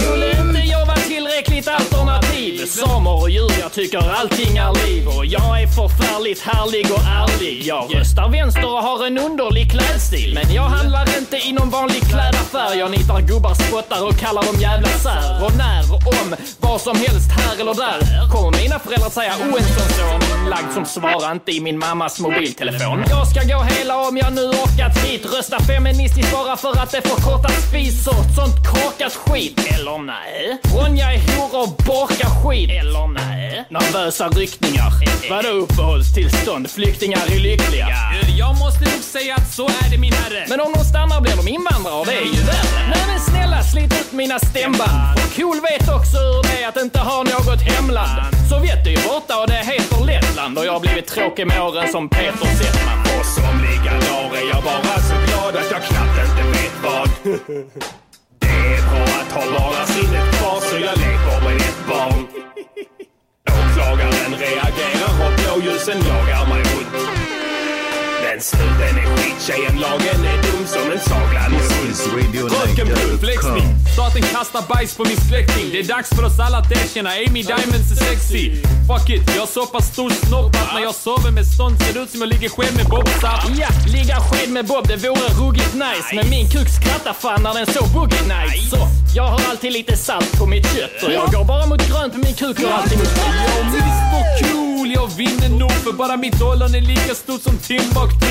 N: Skulle inte jag vara tillräckligt tillräckligt alternativ. Samer och djur, jag tycker allting är liv. Och jag är förfärligt härlig och ärlig. Jag röstar vänster och har en underlig klädstil. Men jag handlar inte i någon vanlig klädaffär. Jag nitar gubbar, spottar och kallar dem jävla sär. Och när och om, vad som helst här eller där. Kommer mina föräldrar säga "Oh, en sån son, lagd som svarar inte i min mammas mobiltelefon. Jag ska gå hela om jag nu orkat hit. Rösta feministiskt bara för att det förkortar spis och sånt korkat skit. Eller nej. Ronja är hora och bakar skit. Eller nej. Nervösa ryckningar. Vadå uppehållstillstånd? Flyktingar är lyckliga.
L: Jag måste nog säga att så är det min herre.
N: Men om de stannar blir de invandrare och det är ju värre. Nej men snälla slit ut mina stämband. Och cool vet också ur det att inte ha något hemland. Sovjet är ju borta och det heter Lettland. Och jag har blivit tråkig med åren som Peter Settman.
M: Och som ligger är jag bara så glad att jag knappt inte vet vad. Det är bra att ha bara sinnet kvar så jag leker med ett barn. Åklagaren reagerar och blåljusen jagar mig runt. Men snuten är skittjejen, lagen är dum som en saglande hund.
L: Röntgenblodfläxning. Staten kastar bajs på min släkting. Det är dags för oss alla att erkänna Amy Diamonds är sexy. Fuck it, jag har så pass stor snopp att när jag sover med stånd ser det ut som jag ligger sked med Bob Sapp.
N: Ja, ligga sked med Bob, det vore ruggigt nice. Men min kuk skrattar fan när den så boogie nice. Så, jag har alltid lite salt på mitt kött. Och jag går bara mot grönt på min kuk och alltid mot
L: Jag och Mr Cool, jag vinner nog för bara mitt ollon är lika stort som Timbuktu.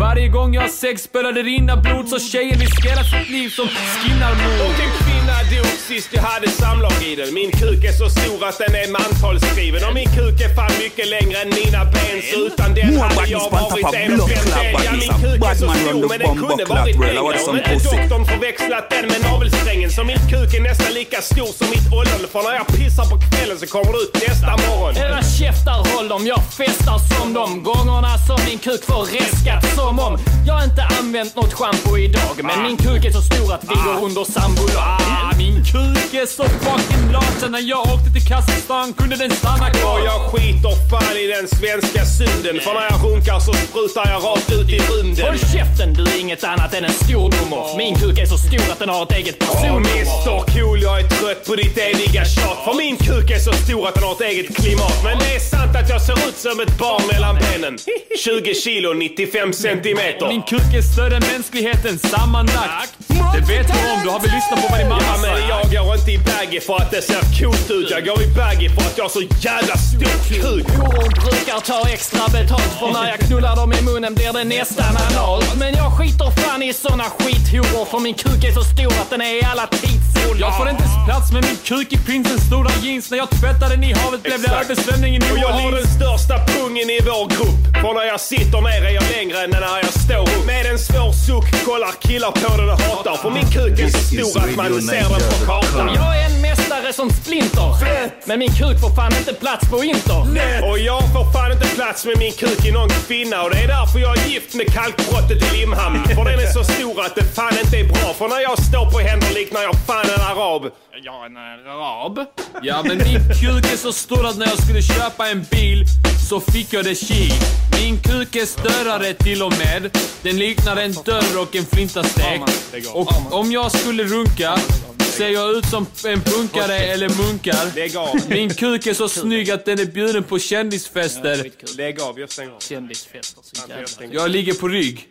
L: Varje gång jag har sex spelar det rinna blod så tjejen riskerar sitt liv som skinnarmod.
M: Och en kvinna typ dog sist jag hade samlag i den. Min kuk är så stor att den är mantalsskriven. Och min kuk är fan mycket längre än mina ben. Så utan den
F: More
M: hade
F: baddies
M: jag
F: want to have
M: varit
F: a
M: en och
F: block clap
M: femtedel. Ja,
F: baddies,
M: min
F: a
M: kuk är
F: bad
M: så
F: man
M: stor
F: under
M: men den
F: bomb
M: kunde
F: och clap
M: varit
F: brölla.
M: längre.
F: Vad är det
M: Och
F: som
M: nu är
F: pussy?
M: doktorn förväxlat den med navelsträngen. Så min kuk är nästan lika stor som mitt ollon. För när jag pissar på kvällen så kommer det ut nästa morgon.
N: Era käftar håll dem, jag festar som dem Gångerna som min kuk får reskat som om Jag har inte använt något schampo idag Men min kuk är så stor att vi går under sambolag
L: Ah, min kuk är så fucking lat så när jag åkte till Kazakstan kunde den stanna kvar.
M: Och jag skiter fan i den svenska synden. För när jag runkar så sprutar jag rakt ut i rymden.
N: Håll käften, du är inget annat än en stordomar Min kuk är så stor att den har ett eget
M: Åh
N: personnummer
M: Mr Cool, jag är trött på ditt eviga tjat. För min kuk är så stor att den har ett eget klimat. Men det är sant att jag ser ut som ett barn mellan benen. 20 kilo, 95 centimeter.
L: Min kuk är större än mänskligheten sammanlagt. Det vet du om, du har väl lyssnat på vad din mamma
M: Ja, men
L: sa?
M: jag går inte i baggy för att det ser coolt ut. Jag går i baggy för att jag har så jävla stor kuk.
N: Horor brukar ta extra betalt för när jag knullar dem i munnen blir det nästan analt Men jag skiter fan i såna skithoror för min kuk är så stor att den är i alla tidszoner
L: Jag får inte ens plats med min kuk i prinsens stora jeans. När jag tvättade den i havet blev det
M: Exakt.
L: översvämning i
M: Och
L: New
M: jag har
L: Orleans.
M: den största pungen i vår grupp. För när jag sitter ner är jag längre än när jag står upp. Med en svår suck kollar killar på den och hatar. För min kuk är så stor att man ser den på kartan.
N: Jag är en mästare som splinter. Men min kuk får fan inte plats på internet.
M: Och jag får fan inte plats med min kuk i någon kvinna och det är därför jag är gift med kalkbrottet i Limhamn. För den är så stor att det fan inte är bra. För när jag står på händer liknar jag fan en arab.
N: Jag är en arab.
L: Ja men min kuk är så stor att när jag skulle köpa en bil så fick jag det kik. Min kuk är större till och med. Den liknar en dörr och en flintastek. Och om jag skulle runka ser jag ut som en punkare eller munkar. Min kuk är så snygg att den är bjuden på kändisfester.
M: Lägg av, jag stänger av.
N: Kändisfester så jävla...
L: Jag ligger på rygg.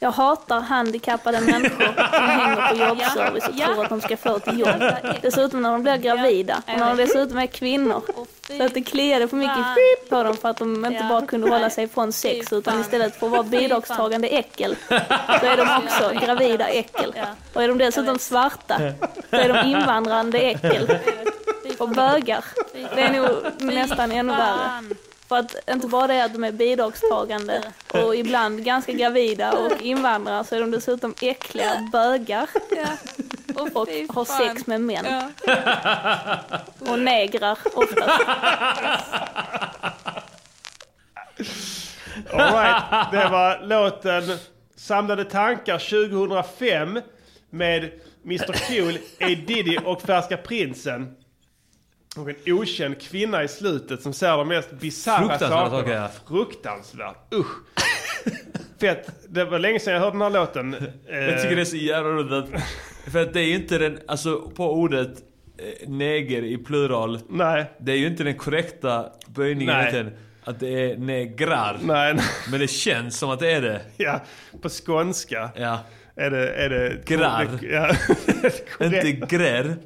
O: Jag hatar handikappade människor som hänger på jobbservice och tror att de ska få ett jobb. Dessutom när de blir gravida och när de dessutom är kvinnor. Så att det kliade för mycket i på dem för att de inte bara kunde hålla sig från sex utan istället för att vara bidragstagande äckel så är de också gravida äckel. Och är de dessutom svarta så är de invandrande äckel. Och bögar. Det är nog nästan ännu värre. För att inte bara det är att de är bidragstagande och ibland ganska gravida och invandrare så är de dessutom äckliga bögar och, har sex med män. Och negrar oftast.
A: Alright, det var låten Samlade tankar 2005 med Mr Cool, A Diddy och Färska Prinsen. Och en okänd kvinna i slutet som säger de mest bisarra
B: Fruktansvärda
A: sakerna.
B: saker, ja.
A: Fruktansvärt, usch. Fett, det var länge sedan jag hörde den här låten. Eh,
B: Jag tycker det är så jävla roligt att För att det är ju inte den, alltså på ordet eh, neger i plural.
A: Nej.
B: Det är ju inte den korrekta böjningen
A: Nej.
B: egentligen. Att det är negrar.
A: Nej, nej.
B: Men det känns som att det är det.
A: Ja, på skånska
B: ja.
A: är det... Är det
B: Grar.
A: Ja,
B: Inte grär,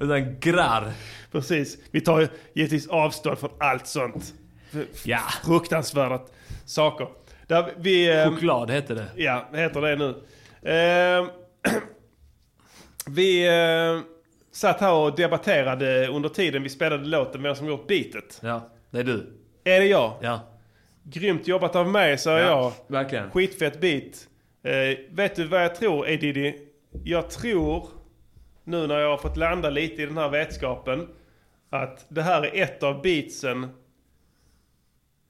B: utan grar.
A: Precis. Vi tar ju givetvis avstånd från allt sånt. F-
B: Ja.
A: Fruktansvärda saker. Där vi, ehm,
B: Choklad heter det.
A: Ja, heter det nu. Ehm, vi eh, satt här och debatterade under tiden vi spelade låten vem som gjort beatet.
B: Ja, det är du.
A: Är det jag?
B: Ja.
A: Grymt jobbat av mig, säger
B: Ja,
A: jag.
B: verkligen.
A: Skitfett beat. Eh, vet du vad jag tror, Edidi? Jag tror, nu när jag har fått landa lite i den här vetskapen, att det här är ett av beatsen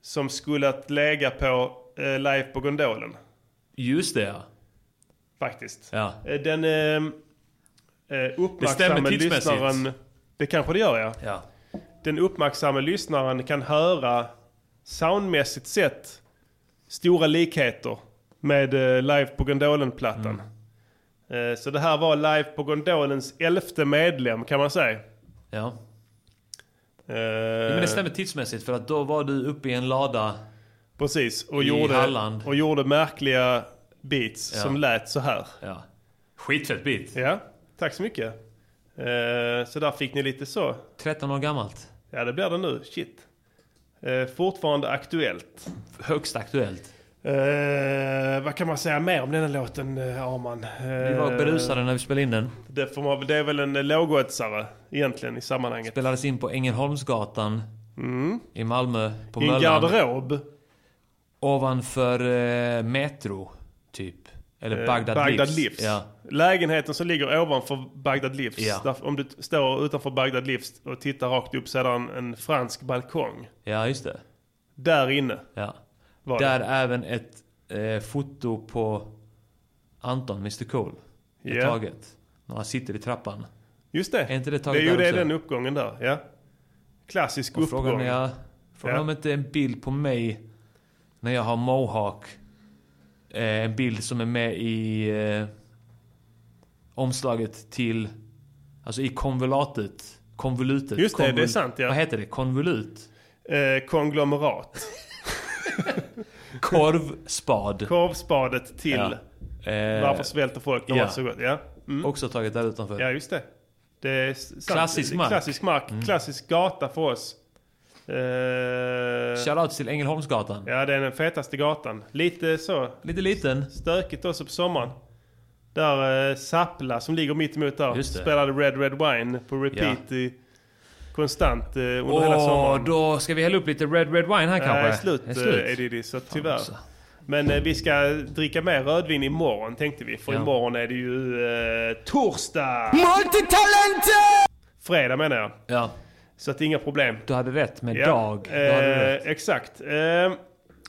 A: som skulle att lägga på eh, Live på Gondolen.
B: Just det ja.
A: Faktiskt.
B: Ja.
A: Eh, Den eh, eh, uppmärksamme
B: stämmer tidsmässigt.
A: lyssnaren... Det kanske det gör ja.
B: ja.
A: Den uppmärksamme lyssnaren kan höra soundmässigt sett stora likheter med eh, Live på Gondolen-plattan.
B: Mm.
A: Eh, så det här var Live på Gondolens elfte medlem kan man säga.
B: Ja. Men
A: Eh.
B: det stämmer tidsmässigt för att då var du uppe i en lada.
A: Eh, Precis. Och,
B: I
A: gjorde,
B: Halland.
A: och gjorde märkliga beats
B: Ja.
A: som lät så här.
B: Ja. Skitfett bit.
A: Ja, tack så mycket. Eh, så där fick ni lite så.
B: 13 år gammalt.
A: Ja, det blir det nu. Shit. Eh, fortfarande aktuellt.
B: Högst aktuellt.
A: Eh, vad kan man säga mer om denna låten, eh, Arman? Eh,
B: Vi var berusade när vi spelade in den.
A: Det, får man, det är väl en eh, lågoddsare egentligen i sammanhanget.
B: Spelades in på Ängelholmsgatan i Malmö.
A: Mm.
B: På
A: I en
B: Möllan.
A: garderob. Eh,
B: Ovanför eh, Metro, typ. Eller
A: Eh,
B: Bagdad,
A: Bagdad
B: Livs.
A: Livs.
B: Ja.
A: Lägenheten som ligger ovanför Bagdad Livs.
B: Ja.
A: Där, om du t- står utanför Bagdad Livs och tittar rakt upp så är det en, en fransk balkong.
B: ja, just det.
A: Där inne.
B: Ja.
A: Var
B: Där även ett eh, foto på Anton, Mr Cool. är
A: Ja.
B: taget. När han sitter i trappan.
A: Just det.
B: Är inte det
A: det
B: taget
A: är ju
B: där
A: det,
B: också?
A: den uppgången där. Ja. Klassisk
B: Och
A: uppgång.
B: frågan om jag... Frågan
A: Ja.
B: om inte en bild på mig när jag har mohawk. Eh, en bild som är med i eh, omslaget till... Alltså i konvulatet. Konvolutet.
A: Just det, det är
B: Konvul-
A: sant, ja.
B: Vad heter det? Konvolut?
A: Eh, konglomerat.
B: Korvspad.
A: Korvspadet till
B: Ja. Eh,
A: Varför svälter folk? De
B: ja.
A: har det så gott. Ja. Mm.
B: Också taget där utanför.
A: ja, just det. det är sant.
B: Klassisk mark. Mm.
A: Klassisk, mark. klassisk gata för oss. Eh,
B: Shoutout till Ängelholmsgatan.
A: ja, det är den fetaste gatan. Lite så.
B: Lite liten.
A: Stökigt också på sommaren. Där eh, Sappla som ligger mitt emot där
B: Just det.
A: spelade Red Red Wine på repeat i, konstant eh, under hela sommaren.
B: Åh, då ska vi hälla upp lite Red Red Wine här kanske?
A: Nej, slut
B: Är det slut?
A: eh, är det, så tyvärr.
B: också.
A: Men eh, vi ska dricka mer rödvin imorgon tänkte vi. För
B: Ja.
A: imorgon är det ju eh, torsdag!
I: Multitalenter!
A: Fredag menar jag.
B: Ja.
A: Så att det är inga problem.
B: Du hade rätt med
A: Ja,
B: dag. Du hade
A: Eh,
B: rätt.
A: exakt. Eh,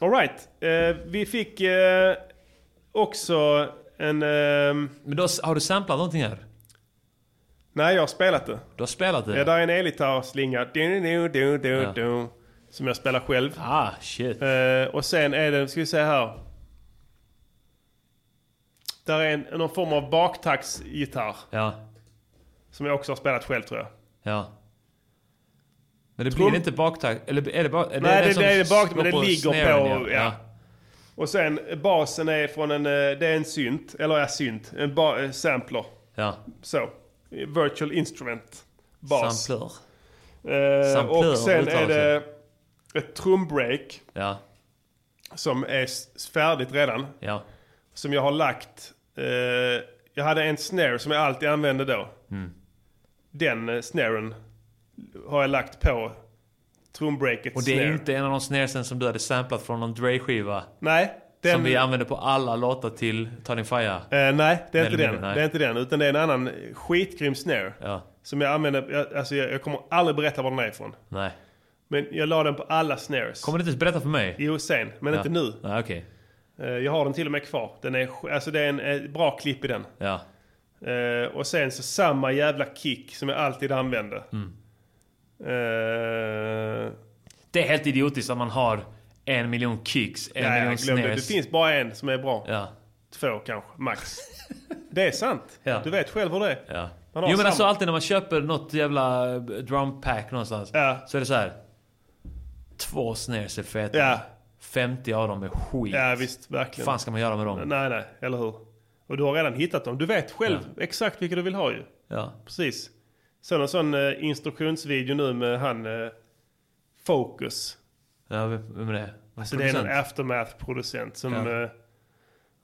A: all right. Eh, vi fick eh, också en... ehm,
B: Men då, har du samplat någonting här?
A: nej, jag har spelat det.
B: Du har spelat det?
A: Ja, där är en elgitarrslinga. Du, du, du, du,
B: Ja.
A: du, som jag spelar själv.
B: Ah, shit.
A: Eh, och sen är det, ska vi se här. Där är en, någon form av baktaktsgitarr.
B: Ja,
A: Som jag också har spelat själv tror jag.
B: ja. Men det
A: Trum-
B: blir inte baktakt? Eller är det bara... är
A: Nej, det,
B: som
A: det är bak, men
B: slår
A: det ligger
B: snären,
A: på... Ja. Och sen eh, basen är från en... eh, Det är en synt. Eller ja, synt. En ba, eh, sampler.
B: Ja.
A: Så. Eh, Virtual instrument. Bas.
B: Samplör.
A: Eh,
B: Sampler
A: och sen
B: uttalas
A: är det ett trumbreak.
B: Ja,
A: Som är s- färdigt redan.
B: ja.
A: Som jag har lagt. Eh, jag hade en snare som jag alltid använde då.
B: Mm.
A: Den eh, snaren har jag lagt på trumbreaket
B: Och det är
A: snare.
B: inte en av de snärsen som du hade samplat från någon Dre-skiva?
A: Nej. Den,
B: Som vi använder på alla låtar till Ta din fire?
A: Eh, nej, det är,
B: Eller
A: inte den.
B: mindre, nej.
A: det är inte den. Utan det är en annan skitgrym snare.
B: Ja.
A: Som jag använder. Jag, alltså jag, jag kommer aldrig berätta var den är ifrån.
B: Nej.
A: Men jag la den på alla snares.
B: Kommer du inte ens berätta för mig?
A: Jo, sen. Men
B: Ja.
A: inte nu.
B: Nej, okej.
A: Eh, jag har den till och med kvar. Den är, sk- alltså det är en, eh, bra klipp i den.
B: Ja.
A: Eh, och sen så samma jävla kick som jag alltid använde.
B: Mm.
A: Eh,
B: Det är helt idiotiskt att man har en miljon kicks, en
A: nej,
B: miljon
A: jag glömde. Det
B: snares.
A: finns bara en som är bra.
B: Ja.
A: Två kanske, max. Det är sant.
B: Ja.
A: Du vet själv hur det är.
B: Ja.
A: Man
B: Jo
A: har
B: men
A: samma.
B: alltså alltid när man köper något jävla eh, drum pack någonstans. Så är det så här. Två snares är feta.
A: Ja.
B: 50 av dem är skit.
A: Ja visst, verkligen.
B: fan ska man göra med dem?
A: Nej, nej, eller hur? Och du har redan hittat dem. Du vet själv exakt vilka du vill ha ju.
B: Ja.
A: Precis. Sån en sån eh, instruktionsvideo nu med han eh, Focus.
B: Ja, vem är det?
A: Alltså det är någon aftermath-producent som
B: Ja.
A: eh,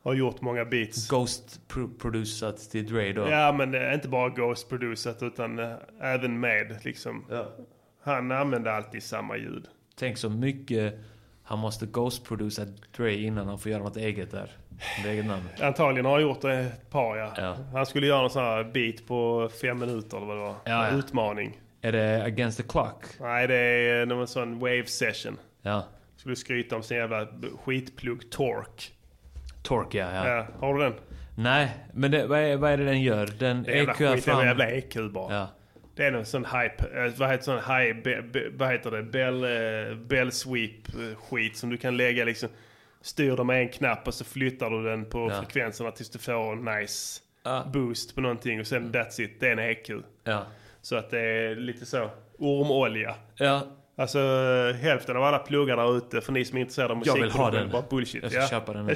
A: har gjort många beats.
B: Ghost-producerat till Dre då?
A: Ja, men det är inte bara Ghost-producerat utan eh, även med liksom. Han använder alltid samma ljud.
B: Tänk så mycket han måste ghost-producera Dre innan han får göra något eget där. Med eget namn.
A: Antagligen har han gjort det ett par ja.
B: Ja.
A: Han skulle göra någon sån här beat på fem minuter eller vad det var.
B: Ja, ja.
A: Utmaning.
B: Är det Against the Clock?
A: Nej, det är någon sån wave session.
B: Ja.
A: Skulle skryta om sin jävla b- skitplugg Torque.
B: Torque ja, ja.
A: Ja, har du den?
B: Nej, men det, vad, är, vad E är det den gör? Den
A: Det är jävla
B: EQar
A: skit, det är
B: fram...
A: jävla EQ bara.
B: Ja.
A: Det är någon sån hype, eh, vad heter sån high, be, be, vad heter det, bell, eh, bell sweep eh, skit som du kan lägga liksom, styr dem med en knapp och så flyttar du den på
B: Ja.
A: frekvenserna tills du får en nice boost på någonting och
B: Mm.
A: sen that's it, det är en EQ.
B: Ja.
A: Så att det är lite så, ormolja.
B: Ja.
A: Alltså eh, hälften av alla pluggar där ute, för ni som är intresserade av musik.
B: Jag vill ha
A: det är
B: den.
A: Bara bullshit.
B: Jag ska
A: ja.
B: köpa den nu.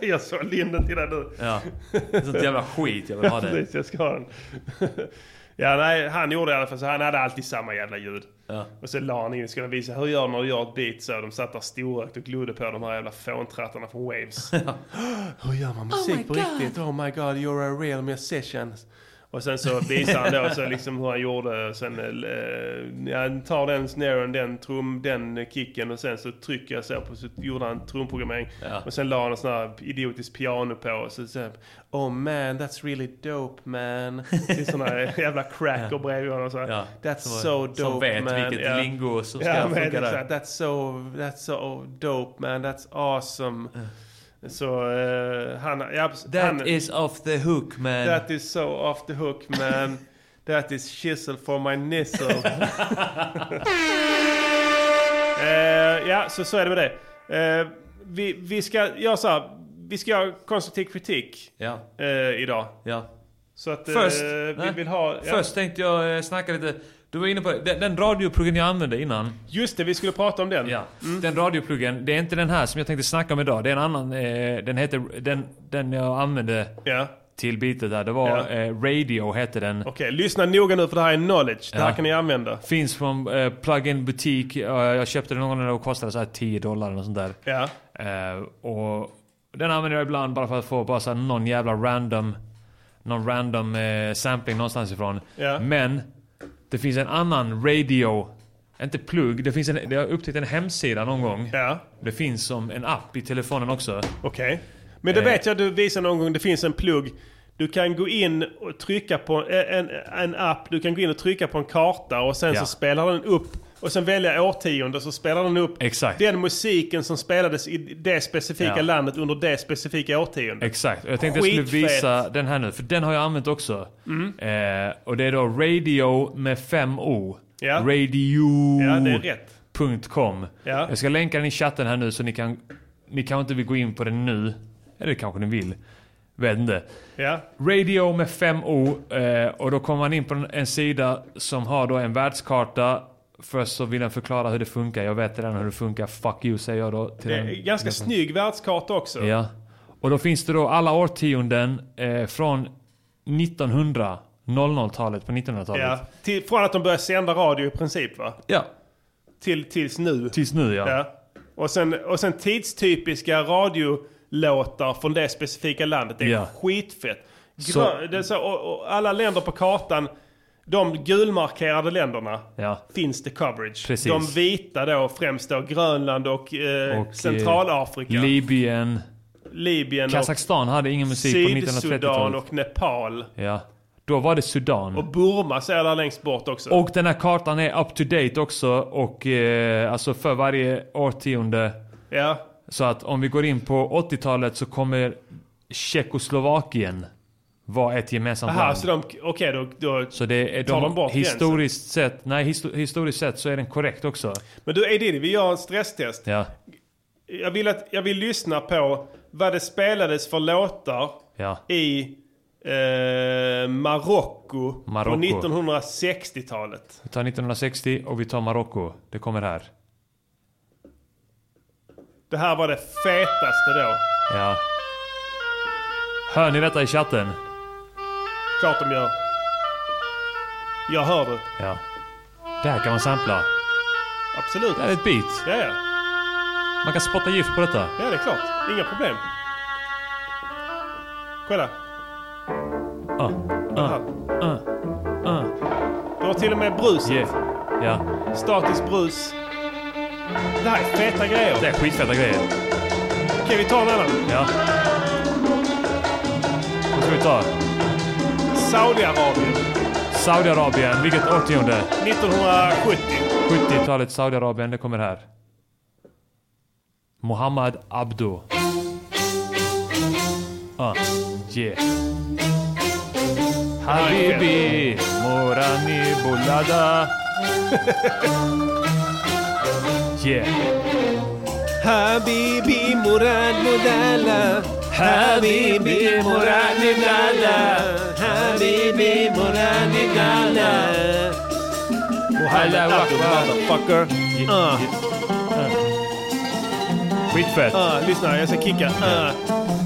A: jag sålde in den till dig nu.
B: Ja. Sånt jävla skit, jag vill ha
A: Ja,
B: den.
A: Precis, jag ska ha den. ja, nej, han gjorde i alla fall så. Han hade alltid samma jävla ljud.
B: Ja.
A: Och så la han in, skulle han visa hur gör man när du gör ett beat så. De satt där storögt och glodde på de här jävla fåntrattarna från Waves. Hur gör man musik
M: my
A: på riktigt? Oh my god, you're a real musician. Och sen så visar han då så liksom hur han gjorde. Och Sen, eh, ja, han tar den snaren, den trum, den kicken och sen så trycker jag så på så gjorde han trumprogrammering. Och sen la han en sån här idiotisk piano på. Och så, så här, oh man, that's really dope man. Det är såna här jävla cracker bredvid honom. och Så här,
B: Ja.
A: That's
B: Som-
A: so dope
B: som vet
A: man.
B: vilket lingo som ska
A: ja, men
B: funka där.
A: exakt. That's so, that's so dope man, that's awesome. Så eh, han... Ja,
B: That
A: han,
B: is off the hook man.
A: That is so off the hook man. That is shizzle for my nizzle. Eh, ja, så, så är det med det. Eh, vi, vi ska göra så här. Vi ska göra konstruktiv kritik
B: Ja.
A: eh, idag.
B: Ja.
A: Så att eh,
B: Först,
A: vi
B: nej.
A: vill ha... ja.
B: Först tänkte jag eh, snacka lite... Du var inne på det. Den, den radiopluggen jag använde innan.
A: Just det, vi skulle prata om den.
B: Ja. Den radiopluggen, det är inte den här som jag tänkte snacka om idag. Det är en annan. Eh, den heter... Den, den jag använde till bitet där. Det var
A: Ja.
B: eh, Radio hette den. Okej,
A: lyssna noga nu för det här är knowledge. Det här
B: Ja.
A: kan ni använda.
B: Finns från eh, plug-in butik. Eh, jag köpte den någon gång när det kostade så här 10 dollar eller sånt där.
A: Ja.
B: Eh, och den använder jag ibland bara för att få bara så här någon jävla random, någon random eh, sampling någonstans ifrån.
A: Ja.
B: Men det finns en annan radio, inte plugg, det finns en, jag har upptäckt en hemsida någon gång. Det finns som en app i telefonen också.
A: Okej. Men det
B: Eh.
A: vet jag du visade någon gång, det finns en plugg. Du kan gå in och trycka på en, en app, du kan gå in och trycka på en karta och sen
B: Ja.
A: så spelar den upp. Och sen välja årtionde så spelar den upp
B: Exakt.
A: den musiken som spelades i det specifika
B: Ja.
A: landet under det specifika årtiondet.
B: Exakt, och jag tänkte jag skulle
A: Skitfett.
B: visa den här nu, för den har jag använt också.
A: Mm.
B: Eh, och det är då radio med fem o.
A: Ja.
B: Radio.
A: Ja, det är rätt.
B: Punkt .com.
A: Ja.
B: Jag ska länka den i chatten här nu så ni kan... Ni kanske inte vill gå in på den nu. Eller kanske ni vill. Vet inte.
A: Ja.
B: Radio med fem o. Eh, och då kommer man in på en, en sida som har då en världskarta. Först så vill den förklara hur det funkar. Jag vet redan hur det funkar. Fuck you säger jag då. Till
A: Det är
B: den-
A: Eh, ganska
B: den som-
A: snygg världskarta också.
B: Ja. Och då finns det då alla årtionden eh, från 1900, 00-talet på 1900-talet.
A: Ja. Till, från att de började sända radio i princip va?
B: Ja.
A: Till, tills nu.
B: Tills nu ja.
A: Ja. Och, sen, och sen tidstypiska radiolåtar från det specifika landet. Det är
B: Ja.
A: skitfett. Grö-
B: Så-
A: det är så, och, och alla länder på kartan, de gulmarkerade länderna,
B: Ja.
A: finns det coverage.
B: Precis.
A: De vita då, främst då Grönland och, eh,
B: Och, eh,
A: Centralafrika,
B: Libyen.
A: Libyen
B: Kazakstan hade ingen
A: och
B: musik på
A: Sydsudan
B: 1930-talet.
A: och Nepal.
B: Ja. Då var det Sudan.
A: Och Burma ser jag där längst bort också.
B: Och den här kartan är up to date också. Och eh, alltså för varje årtionde.
A: Ja.
B: Så att om vi går in på 80-talet så kommer Tjeckoslovakien vara ett gemensamt
A: Aha,
B: land.
A: så de, okej då, då
B: Så det är
A: tar
B: de,
A: de bort gränsen.
B: historiskt sett, nej histo- historiskt sett så är den korrekt också.
A: Men du Edidi, vi gör en stresstest.
B: Ja.
A: Jag vill, att, jag vill lyssna på vad det spelades för låtar
B: Ja.
A: i eh, Marocko på
B: Marocko.
A: 1960-talet.
B: Vi tar 1960 och vi tar Marocko. Det kommer här.
A: Det här var det fetaste då.
B: Ja. Hör ni detta i chatten?
A: Klart de gör. Jag hör det.
B: Ja. Där kan man sampla.
A: Absolut.
B: Det här är ett beat.
A: Ja, ja.
B: Man kan spotta gift på detta.
A: Ja, det är klart. Inga problem. Kolla.
B: Ah, ah, ah, ah.
A: Du har till och med bruset.
B: Ja.
A: Statisk brus. Det här är feta grejer.
B: Det är skitfeta grejer.
A: Okej, vi tar en annan.
B: Ja. Vad ska vi ta?
A: Saudiarabien.
B: Saudiarabien. Vilket årtionde?
A: 1970.
B: 70-talet Saudiarabien. Det kommer här. Mohammed Abdo. Ah, yeah. Habibi, Morani Bolada. Yeah.
A: Habibi Murad Mudala
M: Habibi Murad Mudala Habibi Murad Mudala
A: Muhammad Abdul motherfucker. Uh.
B: Skitfett.
A: Uh, lyssna, jag ska kicka. Uh.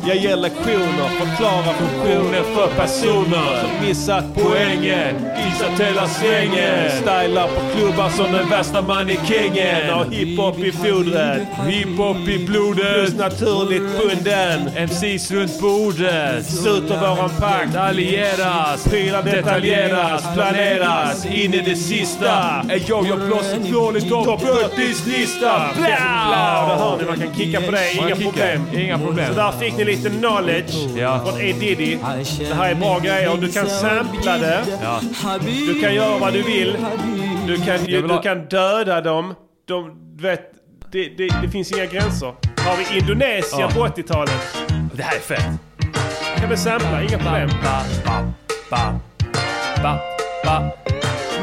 A: Jag ger lektioner, förklarar funktioner för personer som missat poängen. Dissat hela svängen. Stylar på klubbar som den värsta manikängen. Har hiphop i fodret.
B: Hiphop i blodet.
A: Plus naturligt bunden.
B: MCs runt bordet.
A: Sluter våran pakt.
B: Allieras.
A: Prylar detaljeras. Planeras.
B: In i det sista. Är jag, jag blåser från i topp 40s lista.
A: Blau! Där hör ni, man kan kicka på det.
B: Man
A: Inga
B: kickar.
A: problem.
B: Inga problem.
A: Så där fick ni lite knowledge
B: Ja.
A: från E. Diddy. Det här är bra grejer. Du kan sampla det.
B: Ja.
A: Du kan göra vad du vill. Du kan,
B: Jag vill ha-
A: du kan döda dem. De, du vet, det, det, det finns inga gränser. Har vi Indonesien
B: Ja.
A: på 80-talet.
B: Det här är fett.
A: kan vi sampla, inga problem.
B: Ba, ba, ba, ba, ba.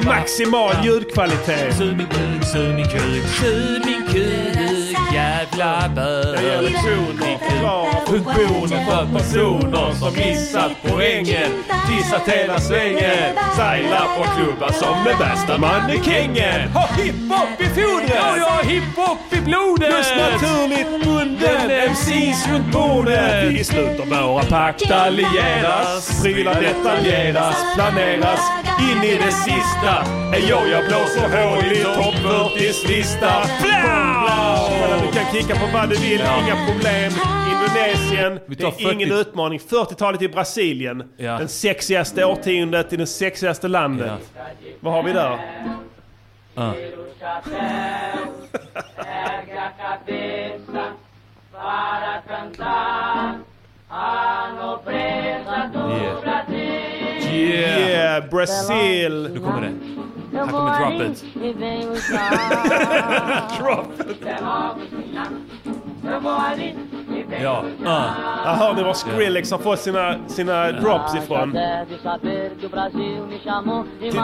A: Maximal ljudkvalitet.
B: Sug min kuk, sug min kuk, sug Typ min kuk, jävla bög.
A: Jag ger lektioner, förklarar funktioner för personer som missat poängen. Dissat hela svängen. Sailar på klubbar som är värsta mannekängen. Har hiphop i fodret.
B: Ja, jag har hiphop i blodet!
A: Just naturligt bunden, MCs runt bordet. Vi sluter våra pakt, allieras. Prylar detaljeras, planeras. In i det sista. Är jag, jag blåser hål i topp 40s lista. Blau! Du kan kicka på vad du vill, inga problem. Indonesien,
B: Vi
A: det
B: tar
A: är
B: 40.
A: ingen utmaning. 40-talet i Brasilien.
B: Ja.
A: Den sexigaste årtiondet i det sexigaste landet. Vad har vi där?
B: Ah. Yeah.
A: Yeah,
B: Yeah.
A: Brasil!
B: Nu kommer det. Här kommer droppet. Ja. Ah.
A: Där hör ni var Skrillex har fått sina, sina drops ifrån.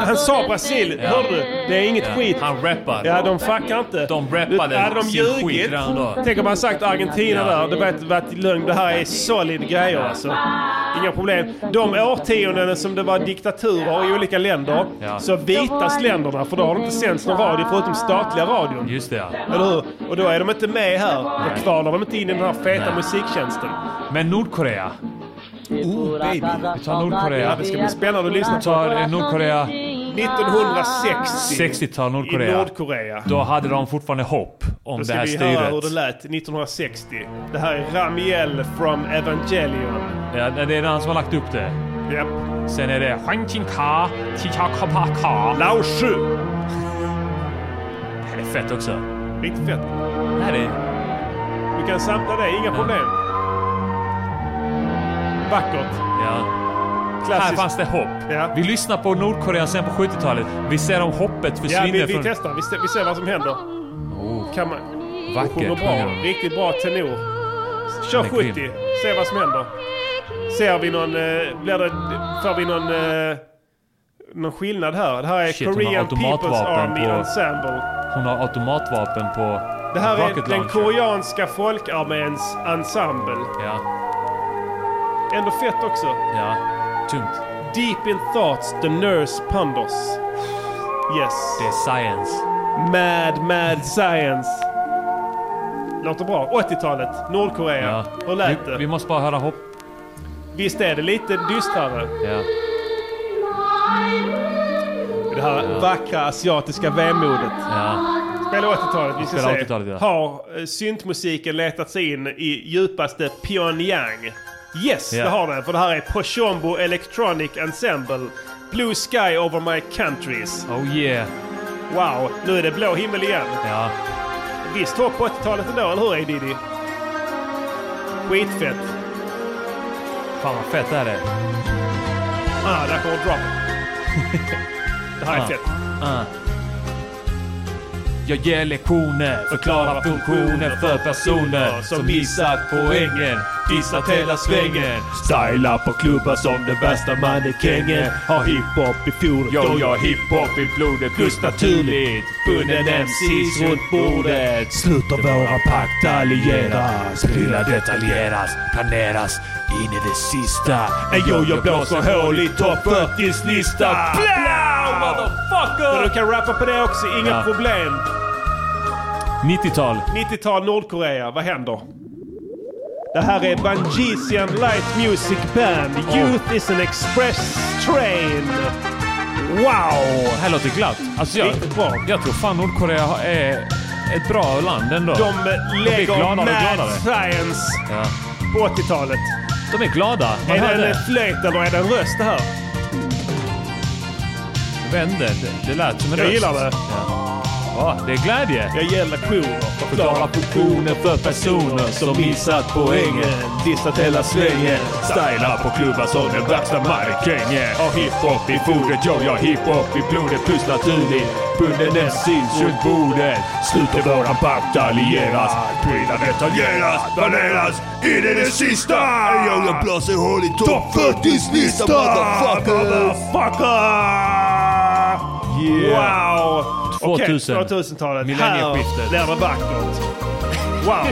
A: Han sa Brasil, hörde du? Det är inget
B: Ja.
A: skit.
B: Han rappar.
A: Ja, de fuckar inte.
B: De rappade
A: Hade de
B: sin skit
A: ljugit?
B: redan då.
A: Tänk om han sagt Argentina
B: Ja.
A: där. Det var varit lögn. Det här är solid grejer alltså. Inga problem. De årtionden som det var diktaturer i olika länder
B: Ja.
A: så vitas länderna för då har de inte sänds någon radio förutom statliga radion.
B: Just det ja.
A: Eller hur? Och då är de inte med här. Då kvalar de inte in i den här feta
B: Nej.
A: musiktjänsten.
B: Men Nordkorea.
A: Oh baby!
B: Vi tar Nordkorea.
A: Det ska bli spännande att lyssna
B: Vi tar eh,
A: på.
B: Nordkorea.
A: 1960
B: 60-tal
A: i
B: Nordkorea.
A: Nordkorea.
B: Då hade de fortfarande hopp om
A: Då
B: det
A: ska
B: här
A: vi höra hur
B: styret.
A: det lät 1960. Det här är Ramiel from Evangelion.
B: Ja, det är han som har lagt upp det.
A: Japp.
B: Sen är det Huang Qingka, Tichakapaka.
A: Lao Shu.
B: Det här är fett också.
A: Riktigt fett.
B: Det här är...
A: Du kan sampla det, inga problem. Vackert.
B: Ja. Här
A: Klassiskt.
B: fanns det hopp.
A: Ja.
B: Vi lyssnar på Nordkorea sen på 70-talet. Vi ser om hoppet
A: Ja,
B: försvinner
A: vi, vi
B: från...
A: testar. Vi, ser- vi ser vad som händer. Kan man... Hon
B: Vackert.
A: sjunger bra. Riktigt bra tenor. Kör
B: Den är
A: 70.
B: grym.
A: Se vad som händer. Ser vi någon... eh, Blir det, får vi någon... eh, Någon skillnad här? Det här är
B: Shit, hon har
A: Korean People's
B: automatvapen
A: Army
B: på-
A: Ensemble.
B: Hon har automatvapen på...
A: Det här är
B: Rocket
A: den
B: launcher.
A: koreanska folkarméns ensemble.
B: Ja.
A: Ändå fett också.
B: Ja. Tungt.
A: Deep in thoughts, the nurse pandos. Yes.
B: Det är science.
A: Mad, mad science. Låter bra. 80-talet, Nordkorea. Hur lät det?
B: Vi måste bara höra hopp.
A: Visst är det lite dystrare?
B: Ja.
A: Det här
B: Ja.
A: vackra asiatiska vemodet. Spela 80-talet, vi ska
B: Spela
A: se.
B: 80-talet, ja.
A: Har eh, syntmusiken letat sig in i djupaste Pyongyang? Yes,
B: Ja.
A: det har den. För det här är Pochombo Electronic Ensemble. Blue Sky Over My Countries.
B: Oh yeah.
A: Wow, nu är det blå himmel igen.
B: Ja.
A: Visst hopp på 80-talet ändå, eller hur A-Diddy? Skitfett.
B: Fan vad fett det här är.
A: Ah, där kommer drop. Det här är
B: Ah.
A: fett.
B: Ah. Jag ger lektioner, förklarar funktioner för personer som missat poängen, dissat hela svängen.
M: Stylar på klubbar som den värsta mannekängen. Har hiphop i fjodet. Jo, jag har hiphop i blodet. Plus naturligt. Bunden MCs runt bordet. Sluter våra pakt allieras. Prylar detaljeras. Planeras in i det sista. Ey yo, jag blåser hål i topp 40s lista. Blow, motherfucker!
A: Men du kan rappa på det också, inga
B: Ja.
A: problem.
B: 90-tal.
A: 90-tal Nordkorea, vad händer? Det här är Bangesian Light Music Band. Youth is an express train. Wow!
B: Det här låter glatt. Alltså jag,
A: Riktigt bra.
B: jag tror fan Nordkorea har- är ett bra land ändå.
A: De
B: är
A: lägger
B: gladare och
A: mad
B: gladare.
A: science
B: Ja.
A: på 80-talet.
B: De är glada. Man
A: är
B: hör
A: det
B: det.
A: en flöjt eller är det en röst det här?
B: Vände. Det, det lät som en
A: Jag
B: röst.
A: gillar det.
B: Ja. Ja, det är glädje.
A: Jag ger lektioner.
B: Förklara funktioner för personer som missat poängen.
M: Dissat hela svängen. Stylar på klubbar som den värsta markängen. Har hiphop i fodret, yo, jag har hiphop i blodet. Plus naturligt, bunden en syns runt bordet. Sluter våran pakt allieras. Prylar detaljeras, planeras in i det sista. Yo, jag blåser hål i topp 40s lista. Motherfuckers!
A: Wow! Okej,
B: 2000.
A: 2000-talet.
B: Millennieskiftet.
A: Här blir det vackert. Wow!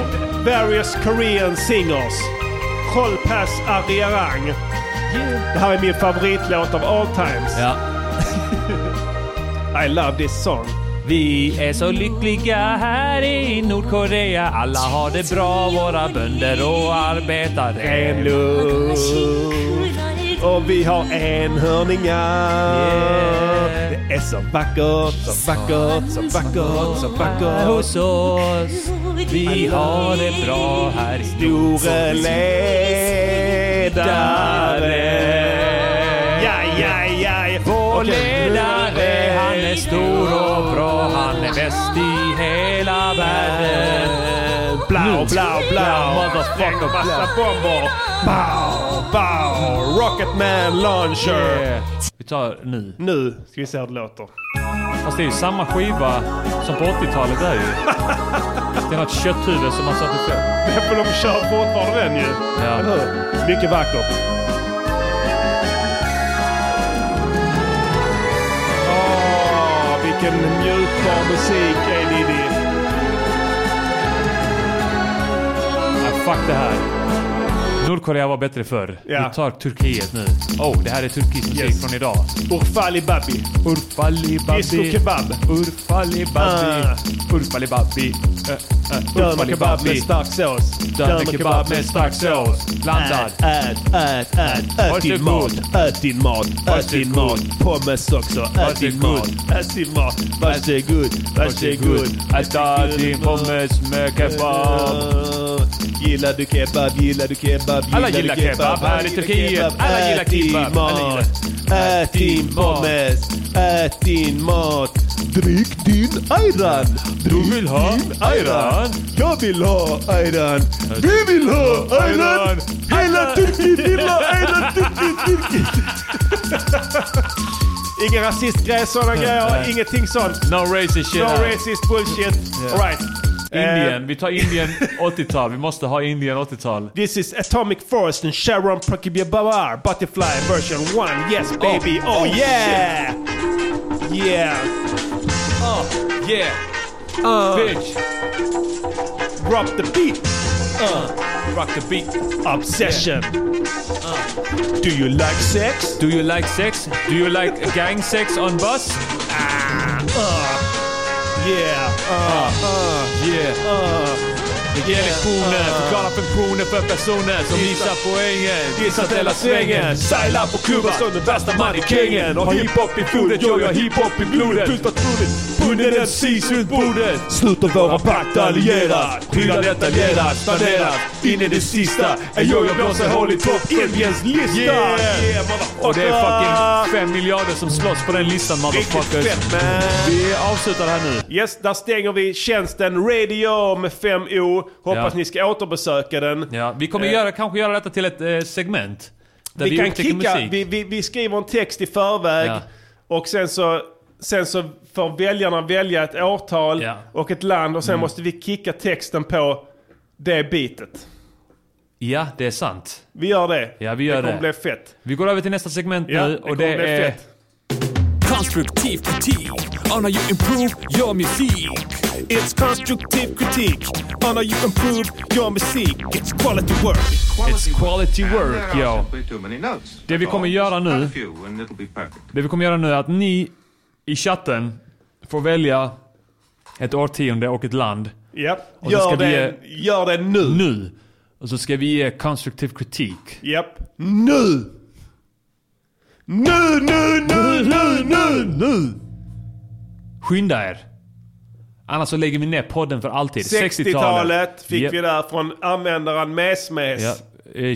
A: Various Korean singers. Cholpas Ariarang. Det här är min favoritlåt av all times. I love this song.
B: Vi är så lyckliga här i Nordkorea. Alla har det bra, våra bönder och arbetare.
A: En lugn. Och vi har enhörningar. Det är så vackert, så vackert, så vackert, så
B: Här
A: vackert.
B: hos oss. Vi har det bra här i
A: Store ledare. Ja, ja, ja.
B: Vår
A: Okej.
B: ledare, han är stor och bra. Han är bäst i hela världen.
A: Blau, blau, blau.
B: Motherfucker,
A: Massa
B: blau.
A: bomber. Bow, bow. Rocketman launcher.
B: Vi tar nu.
A: Nu ska vi se hur det låter.
B: Fast det är ju samma skiva som på 80-talet där ju. Det är något kötthuvud som man satte på.
A: För de kör fortfarande den ju.
B: Ja.
A: Eller hur? Mycket vackert. Åh, vilken njutbar musik, A-Diddy.
B: Ah, fuck det här. Nordkorea var bättre förr.
A: Ja.
B: Vi tar Turkiet nu. Oh, det här är turkisk musik
A: Yes.
B: från idag.
A: Urfali Babi.
B: Urfali babi.
A: Disco kebab.
B: Urfali babi.
A: Ah.
B: Urfali babi. Eh, eh,
A: Dömer
B: Urfali
A: kebab med
B: babi.
A: stark sås.
B: Dömer kebab med stark sås. Blandad.
A: Ät, ät, ät, ät. Ät din
B: Varsågod.
A: mat. Ät din mat. Ät din mat. Pommes också. Ät din
B: Varsågod.
A: mat. Ät din mat. Varsågod. Varsågod.
B: Äta din pommes med kebab.
A: Gillar du kebab, gillar du kebab,
B: Alla gillar
A: du
B: kebab här i Turkiet.
A: Gillar du kebab?
B: Alla gillar
A: Ät din
B: kebab. Alla gillar-
A: mat. Ät din pommes, ät din mat. Drick din ayran.
B: Du vill ha ayran?
A: Jag vill ha ayran. Vi vill ha ayran. Hela Turkiet vill ha ayran. Turkiet, Turkiet. Ingen rasistgrej, sådana grejer. Ingenting sånt.
B: No racist shit.
A: No
B: här.
A: racist bullshit.
B: Ja.
A: All right.
B: Indien. Vi tar Indien 80-tal. Vi måste ha Indien 80-tal.
A: This is Atomic Forest and Sharon Prokibiabar Butterfly version 1. Yes baby, oh, yeah! Yeah!
B: Oh, yeah.
A: Uh. Bitch. Drop the beat. Uh.
B: Rock the beat.
A: Obsession. Do you like sex?
B: Do you like sex? Do you like gang sex on bus?
A: Ah, uh, yeah, uh,
B: uh, yeah.
A: Uh.
B: Ge lektioner, förklara funktioner för personer som missar poängen. Dissat hela svängen. Sailar på Kuba som den värsta manikängen. Har hiphop i blodet, yo jag har hiphop i blodet. Bunden MC's runt bordet.
C: Sluter våra pakt allierat.
B: Prylar detaljerat, spenderat. In i det sista. Är yo jag blåser hål i topp Indiens lista.
A: Yeah,
B: Och det är fucking fem miljarder som slåss på den listan motherfuckers.
A: fett, man.
B: Vi avslutar här nu.
A: Yes, där stänger vi tjänsten Radio med 5O. Hoppas
B: Ja.
A: ni ska återbesöka den.
B: Ja, vi kommer
A: Eh.
B: göra, kanske göra detta till ett eh, segment. Där vi,
A: vi, kan
B: upptäcker
A: kicka,
B: musik.
A: vi, vi, vi skriver en text i förväg
B: Ja.
A: och sen så, sen så får väljarna välja ett årtal
B: Ja.
A: och ett land och sen
B: Mm.
A: måste vi kicka texten på det bitet.
B: Ja, det är sant.
A: Vi gör det.
B: Ja, vi gör det.
A: det kommer bli fett.
B: Vi går över till nästa segment
A: Ja,
B: nu
A: det
B: och det,
A: kommer bli
B: är...
A: fett.
P: Konstruktiv kritik on how you improve your music. It's constructive critique on how you improve your music. It's quality work.
B: It's quality work, yo. Det vi kommer göra nu, det vi kommer göra nu är att ni i chatten får välja ett årtionde och ett land.
A: Ja,
B: Och så
A: gör,
B: ska vi
A: det, gör det nu.
B: Nu! Och så ska vi ge konstruktiv kritik.
A: Japp. Nu! Nu, nu, nu, nu, nu, nu!
B: Skynda er! Annars så lägger vi ner podden för alltid. 60-talet.
A: 60-talet fick
B: Japp.
A: vi där från användaren Mesmes.
B: Ja. Eh, 2000,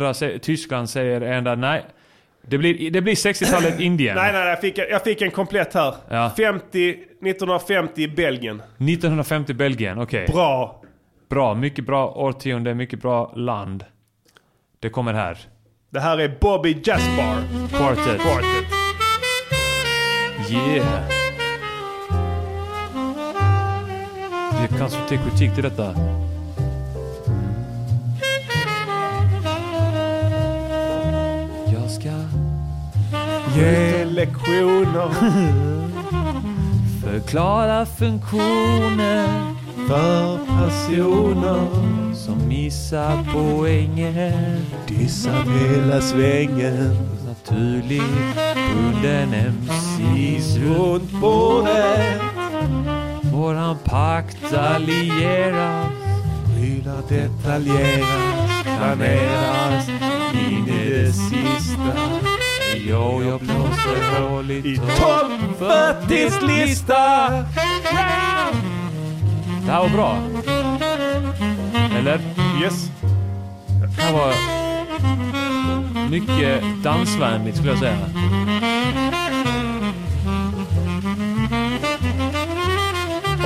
B: sä- Tyskland säger ända nej. Det blir, det blir 60-talet Indien.
A: Nej, nej, nej, jag fick, jag fick en komplett här.
B: Ja.
A: 50, 1950 i Belgien.
B: 1950 Belgien, okej.
A: Bra.
B: Bra, mycket bra årtionde, mycket bra land. Det kommer här.
A: Det här är Bobby Jasper.
B: Quartet.
A: Quartet.
B: Yeah! Det är konstruktiv kritik till detta. Jag ska...
A: Ge lektioner.
B: Förklara funktioner för personer som missar poängen. Dissar hela svängen. Naturligt bunden MCs runt bordet. Våran pakt allieras. Prylar detaljeras. Planeras in i det sista. Jo, jag blåser hål i
A: topp
B: för tills lista. Det här var bra. Eller?
A: Yes.
B: Det här var mycket dansvänligt skulle jag säga.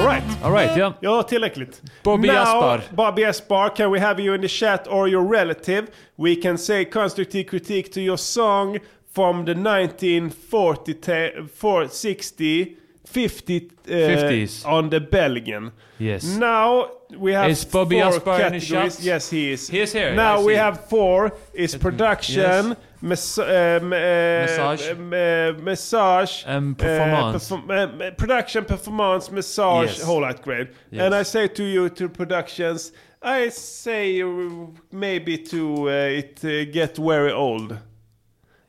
A: Alright.
B: Alright, ja.
A: Ja, tillräckligt.
B: Bobby
A: Now,
B: Jasper.
A: Bobby Jasper, can we have you in the chat or your relative? We can say constructive critique to your song from the 1940, ta- 4, 60, 50, uh,
B: 50s.
A: on the Belgian.
B: Yes.
A: Now we have
B: Is Bobby
A: four
B: Jasper in the
A: categories.
B: chat?
A: Yes, he is.
B: He is here,
A: Now
B: I
A: we
B: see. Mm-hmm.
A: have four. It's production, mas- um, uh,
B: Massage.
A: um, uh, massage,
B: And
A: uh,
B: performance.
A: perform- uh, production, performance, massage,
B: Yes.
A: whole lot grade.
B: Yes.
A: And I say to you, to productions, I say uh, maybe to uh, it uh, get very old.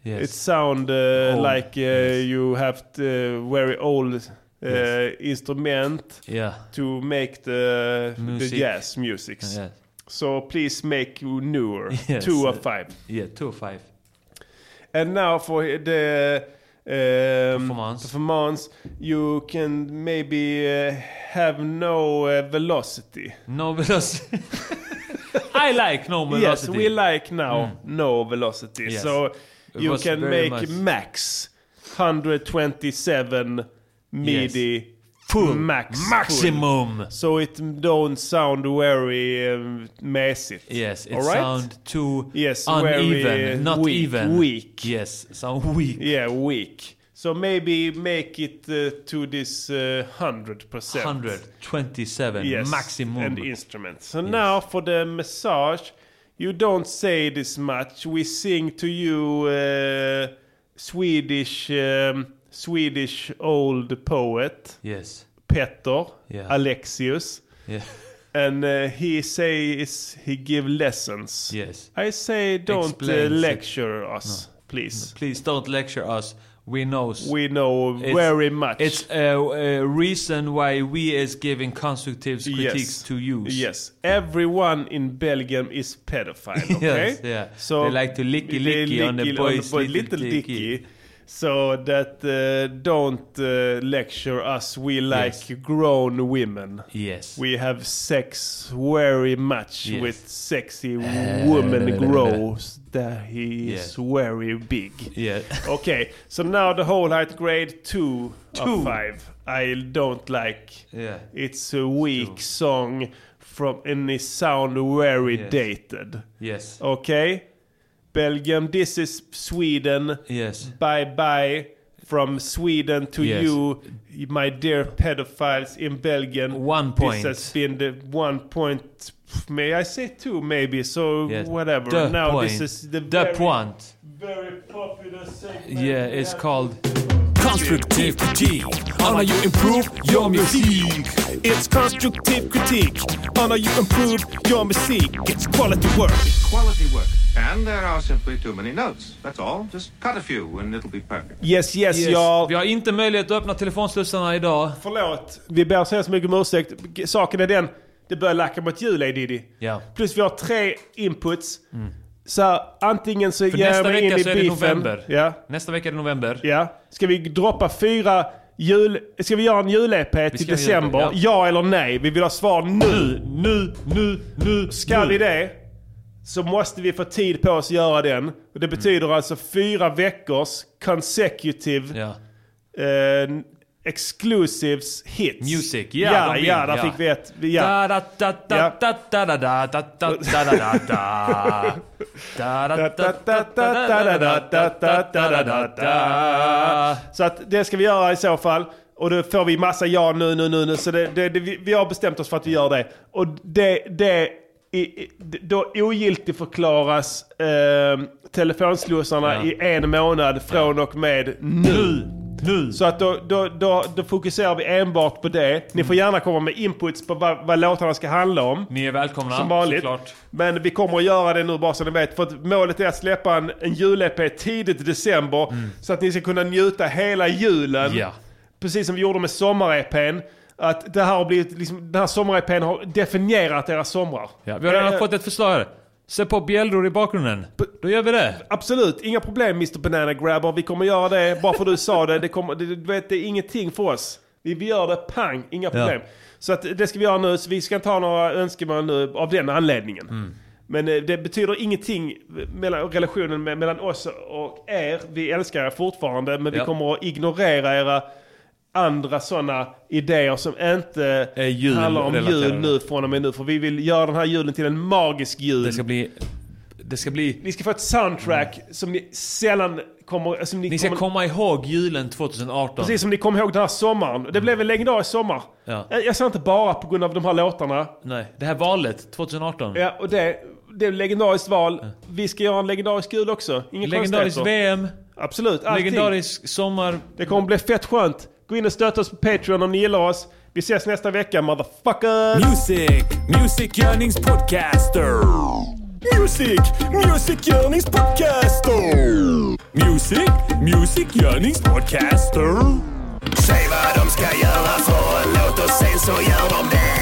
B: Yes.
A: It sound uh,
B: Old,
A: like uh, you have to, uh, very old uh, instrument
B: Yeah.
A: to make the, the
B: Music.
A: jazz music.
B: Yes.
A: So please make newer,
B: Yes.
A: two of five.
B: Yeah, two of five.
A: And now for the um,
B: Performance.
A: performance, you can maybe uh, have no uh, velocity.
B: No velocity. I like no velocity.
A: Yes, we like now
B: Mm.
A: no velocity.
B: Yes.
A: So
B: It
A: you
B: was
A: can
B: very
A: make
B: much-
A: max 127 MIDI
B: Full.
A: max full.
B: Mm. Maximum.
A: So it don't sound very um, messy.
B: Yes, it
A: All right?
B: sound too
A: yes,
B: uneven,
A: very, uh,
B: not
A: weak,
B: even.
A: Weak.
B: Yes, sound weak.
A: Yeah, weak. So maybe make it uh, to this hundred percent.
B: 127 maximum.
A: and instruments. So now for the massage, you don't say this much. We sing to you uh, Swedish um, Swedish old poet
B: Yes.
A: Petter,
B: Yeah.
A: Alexius.
B: Yeah.
A: And uh, he says he give lessons.
B: Yes.
A: I say don't uh,
B: Explains it.
A: lecture us, please.
B: Please don't lecture us. We knows.
A: We know
B: It's-
A: very much.
B: It's a, a reason why we is giving constructive critiques
A: Yes.
B: to use.
A: Yes. Everyone in Belgium is pedophile, okay?
B: Yes, yeah.
A: So
B: They like to licky
A: they
B: licky on the
A: licky
B: boys'
A: little
B: little
A: dicky. So that uh, don't uh, lecture us. We like grown women.
B: Yes.
A: We have sex very much
B: Yes. Eh.
A: with sexy woman grows. That he is very big.
B: Yeah.
A: Okay. So now the whole height grade two,
B: Two.
A: of five. I don't like.
B: Yeah.
A: It's a weak song from and it sound very
B: Yes.
A: dated.
B: Yes.
A: Okay? Belgium, this is Sweden.
B: Yes.
A: Bye bye from Sweden to
B: Yes.
A: you, my dear pedophiles in Belgium. One
B: point.
A: This has been the one point. May I say two, maybe? So
B: Yes.
A: whatever.
B: The
A: now this
B: point.
A: is the
B: The
A: very
B: point.
A: Very popular segment.
B: Yeah, it's called
P: Constructive critique on how you improve your music. It's constructive critique on how you improve your music. It's quality work.
Q: Quality work. And there are simply too many notes. That's all. Just cut a few and it'll be perfect.
A: Yes, yes, y'all.
B: Vi har inte möjlighet att öppna telefonslussarna idag.
A: Förlåt. Vi ber så hemskt mycket om ursäkt. Saken är den, det börjar lacka mot jul, Lady Diddy.
B: Ja. Mm.
A: Plus vi har tre inputs. Så här, antingen så
B: För
A: ger jag
B: nästa
A: mig in i
B: vecka så är det
A: beefen.
B: november.
A: Ja.
B: Nästa vecka är det november.
A: ja. Ska vi droppa fyra jul... Ska vi göra en jul-EP till
B: ska göra
A: december?
B: det,
A: Ja.
B: ja.
A: eller nej? Vi vill ha svar nu! Nu, nu, nu, Ska
B: nu.
A: vi det så måste vi få tid på oss att göra den. Och det betyder alltså fyra veckors consecutive eh, exclusives hits. Music,
B: ja,
A: Ja,
B: de vill,
A: ja, där
B: ja.
A: fick vi ett. Ja.
B: Da, da, da, da, da, da, da, da, da, da, da, da, da. Da, da, da, da, da, da, da, da, da, da, da, da, da, da.
A: Så att det ska vi göra i så fall. Och då får vi massa ja nu, nu, nu, nu. Så det, det, det, vi vi har bestämt oss för att vi gör det. Och det, det i, i- då ogiltigt förklaras eh, telefonslussarna
B: Ja.
A: i en månad från och med nu. nu. Så att då, då, då, då fokuserar vi enbart på det. Ni får gärna komma med inputs på vad, vad låtarna ska handla om.
B: Ni är välkomna,
A: Som vanligt.
B: såklart.
A: Men vi kommer att göra det nu bara så ni vet. För att målet är att släppa en, en jul-EP tidigt i december. Så att ni ska kunna njuta hela julen.
B: Mm. Ja.
A: Precis som vi gjorde med sommar-EPn. Att det här har blivit, liksom, den här sommar-EPn har definierat era somrar.
B: Ja, vi har redan
A: Eh,
B: fått ett förslag här. Se på bjällror i bakgrunden. Då gör vi det.
A: Absolut, inga problem Mr Banana Grabber. Vi kommer göra det bara för du sa det. Det, kommer, det, du vet, det är ingenting för oss. Vi, vi gör det pang, inga
B: Ja.
A: problem. Så att, det ska vi göra nu, så vi ska inte ha några önskemål nu av den anledningen.
B: Mm.
A: Men eh, det betyder ingenting mellan relationen me- mellan oss och er. Vi älskar er fortfarande, men vi
B: Ja.
A: kommer att ignorera era andra sådana idéer som inte handlar om jul
B: julrelaterade.
A: nu från och med nu. För vi vill göra den här julen till en magisk jul.
B: Det ska bli... Det ska bli...
A: Ni ska få ett soundtrack som ni sällan kommer... Som ni,
B: Mm. Ni ska
A: kommer,
B: komma ihåg julen 2018.
A: Precis som ni kommer ihåg den här sommaren. Det blev en legendarisk sommar.
B: Ja.
A: Jag säger inte bara på grund av de här låtarna.
B: Nej, det här valet 2018.
A: Ja, och det, det är ett legendariskt val. Vi ska göra en legendarisk jul också. Inga
B: Legendariskt
A: konstigheter.
B: VM.
A: Absolut, allting.
B: Legendarisk sommar.
A: Det kommer bli fett skönt. Gå in och stötta oss på Patreon om ni gillar oss. Vi ses nästa vecka, motherfucker!
P: Music, music yearnings podcaster. Music, music yearnings podcaster. Music, music yearnings podcaster.
R: Säg vad de ska göra för en låt och sen så gör de det